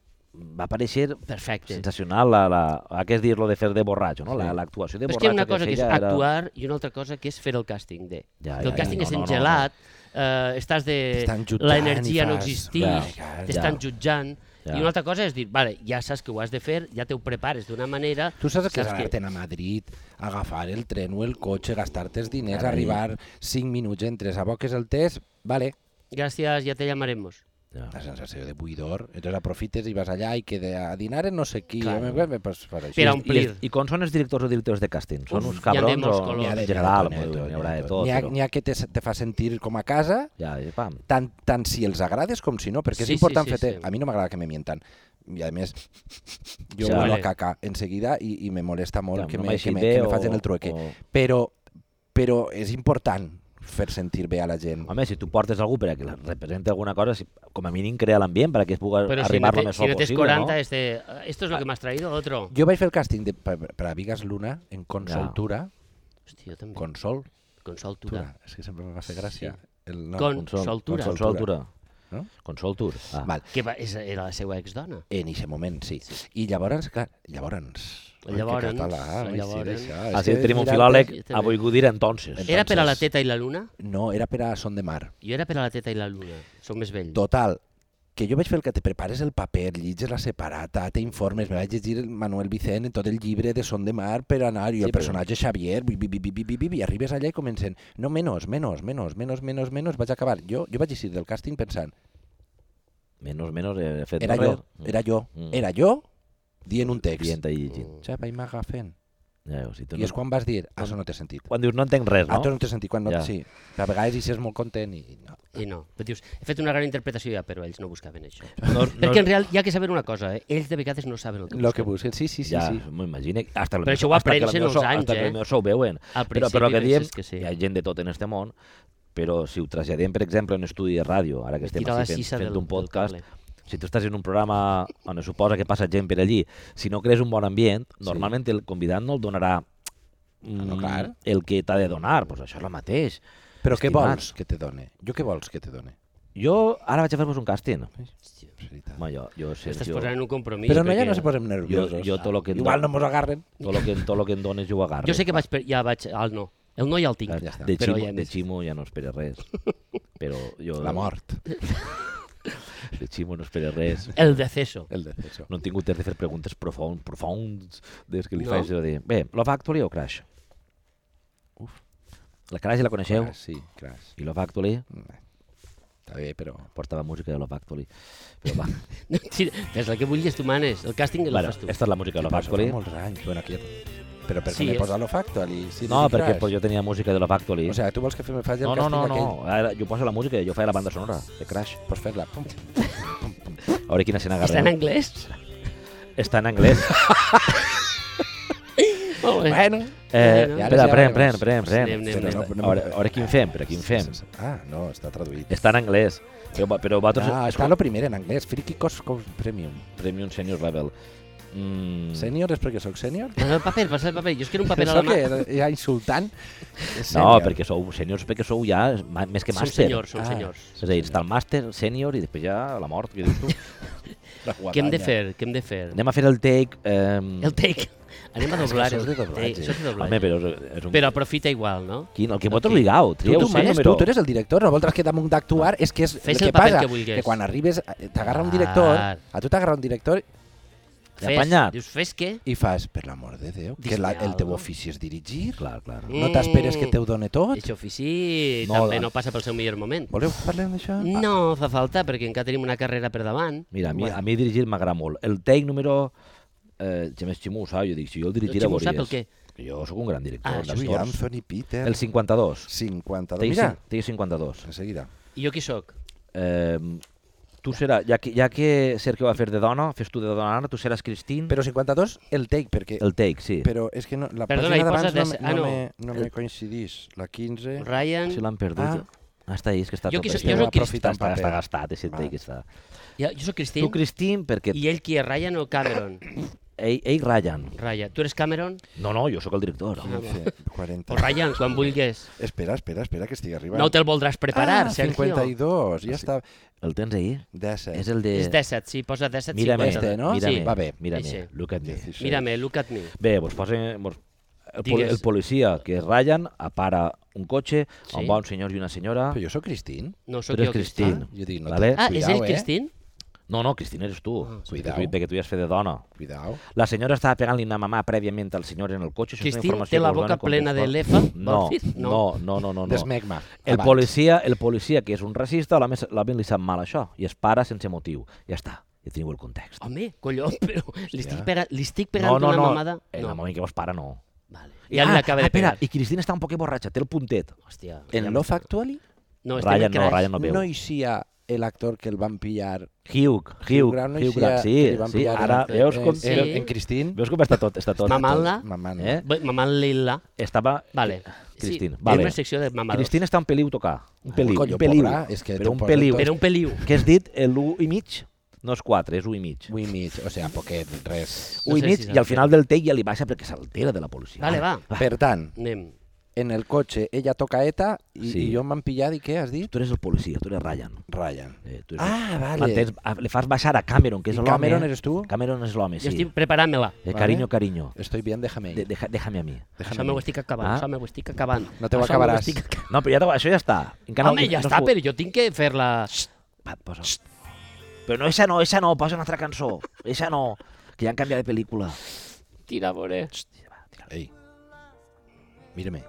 va aparèixer Perfecte. sensacional la, la, aquest dir-lo de fer de borratxo, no? La- L'actuació de Però és que hi borratxo ha una cosa que és feia era- actuar i una altra cosa que és fer el càsting de. Ja, el ja, càsting ja, és no, no, no. engelat, eh, estàs de... T'estan jutjant L'energia i no fas- existeix, Ja, ja, t'estan ja. jutjant. Ja. I una altra cosa és dir, vale, ja saps que ho has de fer, ja te ho prepares d'una manera... Tu saps que és anar-te'n a Madrid, agafar el tren o el cotxe, gastar-te els diners, Carai. arribar 5 minuts entres a boques el test, vale, Gràcies, ja te llamaremos. la sensació de buidor, entonces aprofites i vas allà i queda a dinar en no sé qui. Clar. Claro. Pues, pues, pues, així. Però És- un- I, Omplir. els- I com són els directors o directors de càsting? Són Uf, uns hi ha de cabrons molts o colors. n'hi Hi ha ha de de- general? n'hi ha de tot, N'hi haurà de tot. N'hi ha, però- n'hi ha que te, te fa sentir com a casa, Ja, i pam. tant, tant si els agrades com si no, perquè Sí, és sí, important sí, fer-te... sí. A mi no m'agrada que me mientan. I a més, jo Ja. ja, vuelo Vale. a caca enseguida i, i me molesta Ja, molt que, no me, m'ha que, eixit me, bé que me o- facin el trueque. o- Però, però és important fer sentir bé a la gent. Home, si tu portes algú per a que la- representi alguna cosa, si, com a mínim crea l'ambient perquè es pugui Però si no, arribar te, lo més si no sol tens eh. possible, 40, no? este, esto es lo que m'has traído, otro. Jo vaig fer el càsting de, per, per a Vigas Luna en Consoltura. Hòstia, jo també. Con, Consol. Consoltura. Tura. És que sempre em va fer gràcia. El nom. Con- Consol, Soltura. Consol Tura. No? Consol Tour. Ah. Val. Que va, és, era la seva exdona. En aquest moment, sí. I llavors, clar, llavors... Ai, que Llavors, català, ai, sí, llavors. d'això, és Així que Ah, tenim un mira, filòleg jo també. a volgut dir entonces. Era per a la teta i la luna? No, era per a Son de Mar. Jo era per a la teta i la luna. Som més vells. Total, que jo vaig fer el que te prepares el paper, llitges la separata, te informes, me vaig llegir el Manuel Vicent en tot el llibre de Son de Mar per anar, i Sí, el però- personatge Xavier, bi, bi, bi, bi, bi, bi, bi, bi, i arribes allà i comencen, no, menos, menos, menos, menos, menos, menos, vaig acabar. Jo, jo vaig llegir del càsting pensant, Menys, menys, eh, he fet era res. jo, era jo, Mm. era jo, dient un text. Dient i llegint. Xapa, i m'agafen. Ja veus, si tu Mm. I no... és quan vas dir, "Ah, això no té sentit. Quan dius no entenc res, Ah, això no? no té sentit, quan no, Ja. sí. A vegades hi sents molt content i... No. I no. Però dius, he fet una gran interpretació ja, però ells no buscaven això. No, Perquè en real hi ha que saber una cosa, eh? ells de vegades no saben el que Lo que busquen, busquen. sí, sí, sí. ja, sí. m'ho imagino. Hasta lo Però millor- això ho hasta que aprens lo en millor els so- anys, hasta que eh? lo millor so ho veuen. Al Però, però el que principi diem, penses que sí. hi ha gent de tot en este món, però si ho traslladem, per exemple, a un estudi de ràdio, ara que estem Tira la així sisa fent, fent del- un podcast, del cable. si tu estàs en un programa on es suposa que passa gent per allí, si no crees un bon ambient, normalment el convidat no el donarà Ah, no, mm, clar. el que t'ha de donar, pues això és el mateix. Però què Estimat. vols que te done? Jo què vols que te done? Jo ara vaig a fer-vos un càsting. És veritat. Home, jo, jo, Estàs Sergio, posant en un compromís. Però no, ja perquè- no se posem nerviosos. jo tot lo que- Igual no mos agarren. tot lo que, tot lo que em dones jo ho agarro. Jo sé que vaig per... ja vaig al no. El no ja el tinc. ja està. De Però Ximo, ja ja de més. Ximo ja no espera res. Però jo... La mort. De Ximo no espera res. El deceso. El deceso. No he tingut temps de fer preguntes profund, profunds des que li No? no. faig de dir... Bé, Love Actually o Crash? Uf. La Crash la coneixeu? Crash, sí, crash. I Love Actually? Està bé, però... Portava música de Love Actually. Però va, No, tira- Fes la que vulguis, tu manes. El càsting el bueno, fas tu. esta és la música de Love Però això fa Actually. molts anys. Bueno, aquí... Però per Sí, què m'he és- posat lo factual? I, si No, dic perquè Crash? pues, jo tenia música de Love Actually. O sigui, tu vols que fem- faci el no, no, càsting no, no. aquell? Ara jo poso la música i jo faig la banda sonora de Crash. Pots fer-la. Pum. A veure quina escena Està en agarrem. anglès? Està en anglès. Molt bé. Bueno. Eh, Bueno. espera, Ja pren, veus. pren, pren, Anem, pren. anem, Espera, anem. A veure, a veure quin fem, però quin fem. Ah, no, està traduït. Està en anglès. Però, va- però va Ah, tots... està lo primer en anglès. Freaky Cost Premium. Premium Senior Level. Mm. Sènior és perquè sóc sènior? Passa el paper, passa el paper. Jo és que era un paper a Això la mà. que ja insultant? És No, sènior. perquè sou sèniors, perquè sou ja ma- més que Som màster. senyors, som Ah. senyors. És a dir, està el màster, sènior i després ja la mort, que dius tu. Què hem de fer? Què hem de fer? Anem Ah, a fer el take... Eh, El take. Anem a que doblar. això és de el take. doblatge. Això és de Home, doblatge. però és, és un... Però aprofita igual, no? Quin? El que El vosaltres que- ligau, Tu, trieu tu, sí, manes, número. tu, tu eres el director, no voldràs que damunt d'actuar, és que és Fes el el que paper passa, que vulguis. que quan arribes eh, t'agarra un director, Clar. a tu t'agarra un director Ja apanyat. Dius, fes què? i fas, per l'amor de Déu, que la, el teu Disney, ofici és dirigir, Clar, clar. no t'esperes que te ho done tot. Aquest ofici No, eh. també la- no passa pel seu millor moment. Voleu que parlem d'això? No fa falta, perquè encara tenim una carrera per davant. Mira, a mi, a mi dirigir m'agrada molt. El take número... eh, James Ximú ho sap, jo dic, si jo el dirigira Ximú sap veuries. el Que Jo sóc un gran director. Ah, dels Louis torns. Anthony Peter. El 52. 52. Té, doncs Mira, té 52. de seguida. I jo qui sóc? Eh, tu seràs, ja que, ja que Sergio va fer de dona, fes tu de dona ara, tu seràs Mm. Christine. Però 52, el take, perquè... El take, sí. Però és que no, la Perdona, hi pàgina posa d'abans no, des- me- ah, no, me- no no. me coincidís. La 15... Ryan... Si l'han perdut. Ah. Ah. ah, està ahí, és que està Jo tot qui soc- així. jo soc Està- Christine. Està, està Paper. gastat, aquest Va. take està. Ja, jo sóc Christine. Tu, Christine, perquè I ell qui és, Ryan o Cameron? ell, ell Ryan. Ryan. Tu eres Cameron? No, no, jo sóc el director. Ah, va. Sí, 40. O Ryan, quan vulguis. Espera, espera, espera, que estigui arribant. No te'l voldràs preparar, ah, Sergio. Ah, 52, ja està. El tens ahí? 17. És el de... És 17, sí, posa 17, Mírame, Este, no? mírame, Sí. Va bé. mírame, Sí, sí. look at me. 16. Mírame, look at me. Bé, doncs posen... Doncs, el, poli, Digues. el policia, que és Ryan, apara un cotxe Sí. on va un senyor i una senyora. Però jo sóc Cristín. No, sóc Però és jo, Christine. Christine. Jo dic, no vale? Ah, és Cuidao, ell eh? Christine? No, no, Cristina, eres Ah, tu. Cuidao. De, que tu ja has fet de dona. Cuidao. La senyora estava pegant-li una mamà prèviament al senyor en el cotxe. Això és una Christine informació té que la us donen boca com plena de vols. lefa? No, Vols dir? no, no, no, no. no. Desmegma. El abans. policia, el policia, que és un racista, l'home se- l'home li sap mal això i es para sense motiu. Ja està, ja teniu el context. Home, collons, però li estic, pega, li estic pegant no, no, una no, mamada? en el moment que vos para no. Ah, Vale. Ja li acaba de espera, pegar. i Cristina està un poquet borratxa, té el puntet. Hòstia. En Love Actually No, estem Ryan en no, crash. Ryan no veu. no hi sia el actor que el van pillar. Hugh, Hugh Hugh, Grant no hi Hugh sia, Grant, que sí, li van sí, pillar ara en- veus com, en, Sí. en, en Cristín. veus com està tot, està tot. Mamant-la. Mamant. Eh? Bé, Mamant-la. Estava... Vale. Cristina, sí, vale. És una secció de mamadors. Cristina està un peliu tocar. Un peliu, Collo, un peliu. Ah, pobra, és que però te un posa peliu. tot. Però un peliu. Què has dit? L'1 i mig? No és 4, és 1 i mig. 1 Vuit mig, o sea, poquet, res. No i sé mig, si i al s'entén. final del take ja li baixa perquè s'altera de la policia. Vale, va. Per tant, Anem. en el cotxe ella toca ETA i, Sí. i jo m'han pillat i què has dit? Tu eres el policia, tu eres Ryan. Ryan. Eh, tu eres... Ah, vale. Mantens, a- li fas baixar a Cameron, que és I l'home. Cameron eh? eres tu? Cameron és l'home, sí. Jo estic preparant-me-la. Eh, Vale. cariño, cariño. Estoy bien, déjame ir. De, deja, déjame a mi. Això me ho estic acabant, Ah. això me ho estic acabant. No te ho Això me acabaràs. estic acabant. No, però ja, t'ho- això ja està. Encara Home, ja no està, fot- però jo tinc que fer-la... Va, posa. Però no, esa no, esa no, posa una altra cançó. Esa no, que ja han canviat de pel·lícula. Tira, vore. Ey, míreme.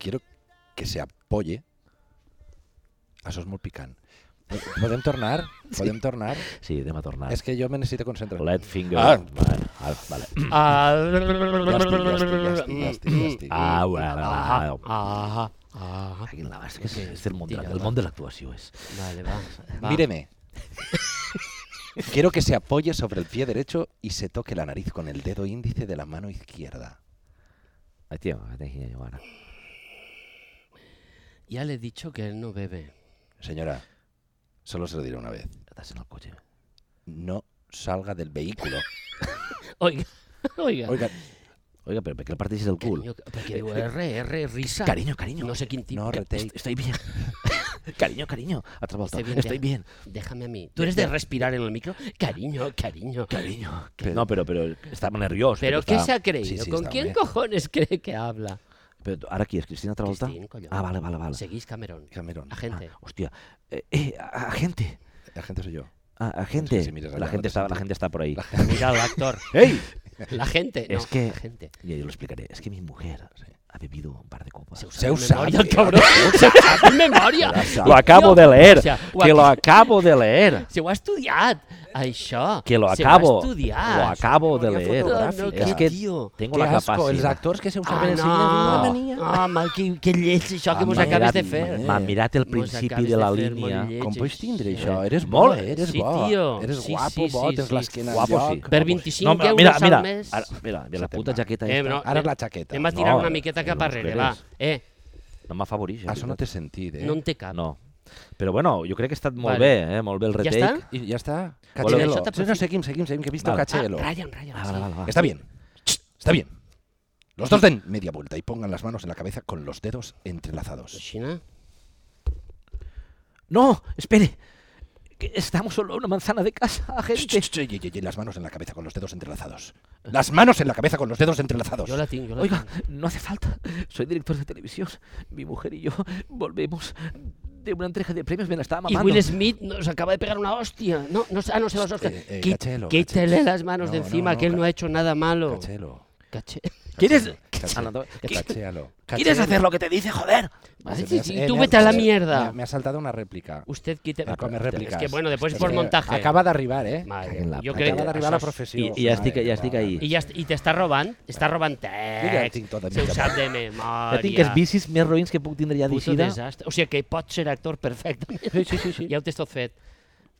Quiero que se apoye. Això és molt picant. Podem tornar? Podem tornar? Sí, anem a tornar. És que jo me necessito concentrar. Let finger. Ah. Vale, vale, vale. Ah, Ja estic, ja estic, ja estic, ja estic, ja estic. Ah, bueno, ah, ah, ah. ah, ah. Aquí la base, que és, és el món de, la- Tira, el va. món de l'actuació. És. Vale, va. va. Míreme. Quiero que se apoye sobre el pie derecho y se toque la nariz con el dedo índice de la mano izquierda. Ai, tio, que tenia jo ara. Ya le he dicho que él no bebe. Señora, solo se lo diré una vez. Estàs en el cotxe. No salga del vehículo. Oiga, oiga. Oiga, Oiga, però per què el parteixis del cul? Cariño, perquè diu R, R, risa. Cariño, cariño. No sé quin tipus. no, retake. Est- Estoy bien. cariño, cariño. Otra vuelta. Estoy bien, Estoy ya. bien. Déjame a mí. Tú eres de respirar en el micro. Cariño, cariño. Cariño. que- No, pero, pero estaba nervioso. ¿Pero qué se ha creído? Sí, sí, ¿Con está quién bien. cojones cree que habla? Pero tú- ahora aquí es Cristina Travolta. Cristín, coño. ah, vale, vale, vale. Seguís, Cameron. Cameron. Agente. Ah, hostia. Eh, eh, a- agente. La gente soy yo. Ah, agente. si miras allá la no gente te está, la sentí. gente está por ahí. Mira al actor. ¡Ey! La gente. No, Es que- La gente. Y yo lo explicaré. Es que mi mujer ha bebido un par de copas. Se usa Se de usa, memoria, tío. el cabrón. Se usa de memoria. Lo acabo de leer. O sea, ho que lo ac- acabo de leer. Se ho ha estudiat, això. Que lo se acabo. ho ha estudiat. Lo acabo de Memoria leer. fotográfica. No, no, es qué que tío. tengo Qué la asco, els capacidad. actors que se usen Ah, per no, Ah, ensenyar diuen, "Mama mía". home, que, que lleig això que mos M'ha acabes mirat- de fer. m'ha mirat el Mos principi acabes de la fer molt línia. lleig, Com pots tindre sí. això? Eres bo, Molt. eres Sí, bo. tio. Eres Sí, guapo, sí, bo, sí, tens sí. l'esquena Guapo, enlloc. sí. Per Guapo, sí. 25 mira, euros mira, al mira, mes. Ara, mira, mira, la te'n puta va. jaqueta. Eh, esta. no, Ara la jaqueta. Hem a tirar No, eh, una miqueta no cap us arrere, va. cregues. Eh, No m'afavorix. Això no té sentit, eh? no en té cap. No. Però bueno, jo crec que ha estat molt Vale. bé, eh? molt bé el Ja retake. està? I ja està. Voleu- Cachelo. Això Sí, t'aprofito. no, seguim, seguim, seguim, que he vist Vale. Cachelo. Ah, Ryan, Ryan, Ah, sí. vale, vale, vale. Está bien. Chst, Está bien. Los dos den media vuelta y pongan las manos en la cabeza con los dedos entrelazados. Xina? No, espere. Que estamos solo a una manzana de casa, Chst, agente. chst, y- y- y Las manos en la cabeza con los dedos entrelazados. Ah. Las manos en la cabeza con los dedos entrelazados. Jo la tinc, jo la Oiga, tinc. no hace falta. Soy director de televisión. Mi mujer y yo volvemos de una entrega de premios. Me la estaba I mamando. Will Smith nos acaba de pegar una hostia. No, no, ah, no se los Oscar. Eh, eh, Qui- Cachelo, Quítele Cachelo. las manos de No, no, encima, no, que él Ca- no ha hecho nada malo. Cachelo. Cache- ¿Quieres, Anotó- Cachéalo. ¿Quieres Cachéalo. hacer lo que te dice, joder? Así, Gracias. sí, Eh, tú me vete ha- a la me- mierda. Me ha saltado una réplica. Usted quita... Eh, com a es rèpliques. que, bueno, després És por que montaje. Acaba d'arribar, eh? Madre, Caguem la jo puta. crec Acaba d'arribar això la és- professió. I- i ja estic- Mare ja estic meva. ahí. I, ja, est- i t'està robant, està robant Jo ja en text, tinc tot a se ho mitja sap de Ja memòria. tinc els vicis més roïns que puc tindre ja Puto d'eixida. desastre. O sigui que pot ser actor perfectament. Sí, sí, sí. sí. Ja ho tens tot fet.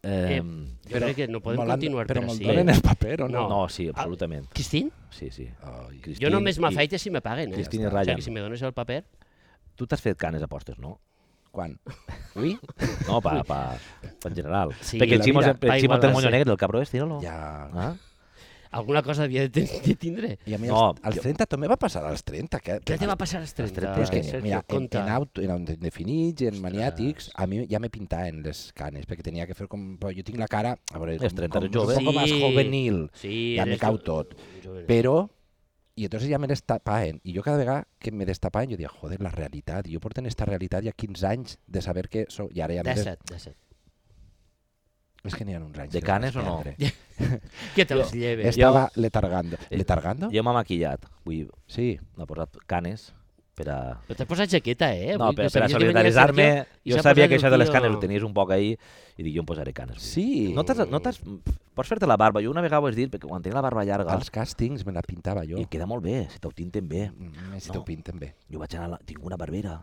Eh, Jo crec que no podem Molt han- continuar però per molt així. donen el paper, o no? No. no, sí, absolutament. Cristín? Sí, sí. Ai. Cristín Jo només i- m'afaite si me paguen, eh? Cristín i O sigui Ryan. que si me dones el paper... Tu t'has fet canes apostes, no? Quan? Avui? No, pa, pa, pa en general. Sí, Perquè el la Ximo, vida. sempre- Pa el Ximo té el moño igualar-se. negre, el cabró este, no? Ja... Ah? Alguna cosa havia de, ten- de tindre. I a mi No, als, als jo- 30 també va passar als 30. Que, Què te va passar als 30? Però Però és que, Sergio, mira, en, compte. en, auto, en indefinits, en maniàtics, a mi ja me pintaven les canes, perquè tenia que fer com... Però jo tinc la cara... A veure, Els com, 30 com, eres jove. Un poco más Sí. juvenil. Sí, Ja me eres cau jo- tot. jovenet. Però... I entonces ja me destapaven. I jo cada vegada que me destapaven, jo deia, joder, la realitat. Jo porto en esta realitat ja 15 anys de saber que... Sóc, I ara ja... me des- 17, 17. És que n'hi ha uns anys. De que canes vaig o no? perdre. Que te les lleves. Estava letargando. Letargando? Jo m'ha maquillat. Vull, Sí. m'ha posat canes per a... Però t'has posat jaqueta, eh? No, Avui per, sabies per a que venia solidaritzar-me, Sergio i jo s'ha sabia posat que això el de les tio- canes ho tenies un poc ahir i dic, jo em posaré canes. avui. Sí. No t'has... No t'has- pots fer-te la barba. Jo una vegada ho has dit, perquè quan tenia la barba llarga Als càstings me la pintava jo. i queda molt bé, si t'ho tinten bé. Mm, Si No. t'ho pinten bé. Jo vaig anar... A la... Tinc una barbera,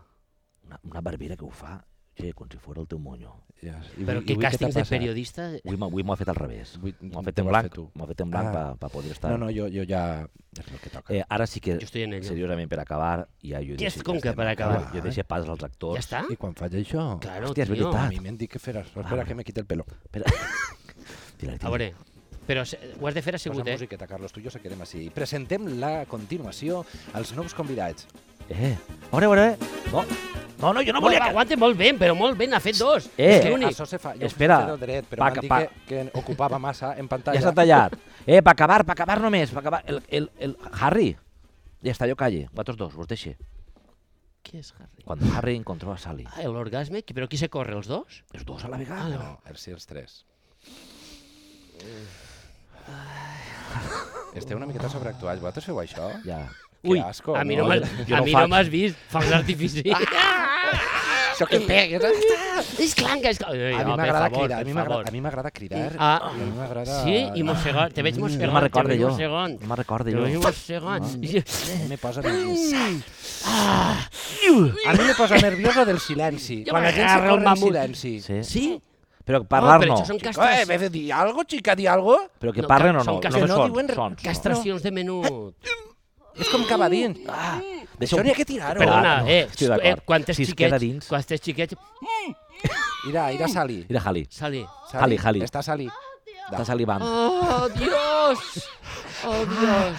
una, una barbera que ho fa, che, com si fos el teu moño. Ja. I Però avui- que avui t'ha càstings de passat? periodista... Avui m'ha- avui m'ho ha fet al revés. Avui M'ho ha fet t'ho en vas fer blanc, tu. m'ho ha fet en blanc Ah. ah. per pa poder estar... No, no, jo, jo ja... És el que toca. Eh, ara sí que, Jo estic en ello. seriosament, per acabar, ja jo Ja deixo- és com que estem per acabant. acabar. Jo deixo pas als actors. Ja està? I quan faig això... Claro, Hòstia, és tio. veritat. A mi m'han dit que faràs. Espera, que me quita el pelo. Espera. Tira, tira. A veure, però se- ho has de fer Posa assegut, eh? musiqueta, Carlos, tu i jo se quedem així. I presentem la continuació als nous convidats. Eh, a veure, a veure. No, no, no jo no No, volia va, que... aguanta molt bé, però molt bé, n'ha fet dos. Eh, és l'únic. Això se fa... Jo Espera. Espera. Del dret, però Pa, m'han dit pa. que, que ocupava massa en pantalla. Ja s'ha tallat. Eh, per acabar, per acabar només, per acabar. El, el, el Harry. Ja està, jo calle. Vosaltres dos, vos deixe. Què és Harry? Quan Harry encontró a Sally. Ah, l'orgasme? Qui- Però qui se corre, els dos? Els dos a la Ah, vegada. no. No, els, els tres. Esteu una miqueta sobreactuats. Vosaltres feu això? Ja. Que asco, a mi no? no, m'has- Jo- jo a no mi faig. no m'has vist, fa un artifici. Això que pegues, eh? és clanca, és A clanca. mi m'agrada cridar, a mi m'agrada- a mi m'agrada cridar. Ah, a mi m'agrada... Sí, i mossegar, te veig mossegar, No me'n recorde te veig jo. mossegant. No me'n recorde Te veig jo. mossegant. Me posa nerviós. A mi me posa nerviosa del silenci. Ja quan la gent se m'agarra el corre en mamut. silenci. Sí. Sí? Però parlar però no. això són Chico, castres- eh, m'he de dir algo, xica, di algo? Però que no, parlen o són no. cas- Només que no sons, diuen re- sons. Castracions de menut. És com cavadins. Ah, Deixa això un- n'hi ha que tirar-ho. Perdona, no, eh, estic eh, d'acord. quan tens Si es xiquets, queda dins. quan tens xiquets, Ira, ira, Sali. Mira, Harry. Sali. Sali, Sali. Està Sali. Està salivant. Oh, Dios! Oh, Dios!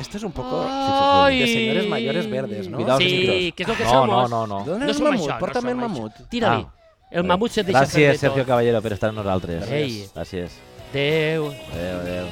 Esto es un poco Ah. Ay. de señores mayores verdes, ¿no? Cuidado, els Sí, micros. que és el que No, som. no, no, no. Dóna'm el som mamut, això, porta'm som el això. mamut. Tira-li. Ah. El mamut se't deixa fer Gràcies, de tot. Sergio Caballero, per estar amb nosaltres. Ei. Gràcies. Adéu. Adéu, adéu.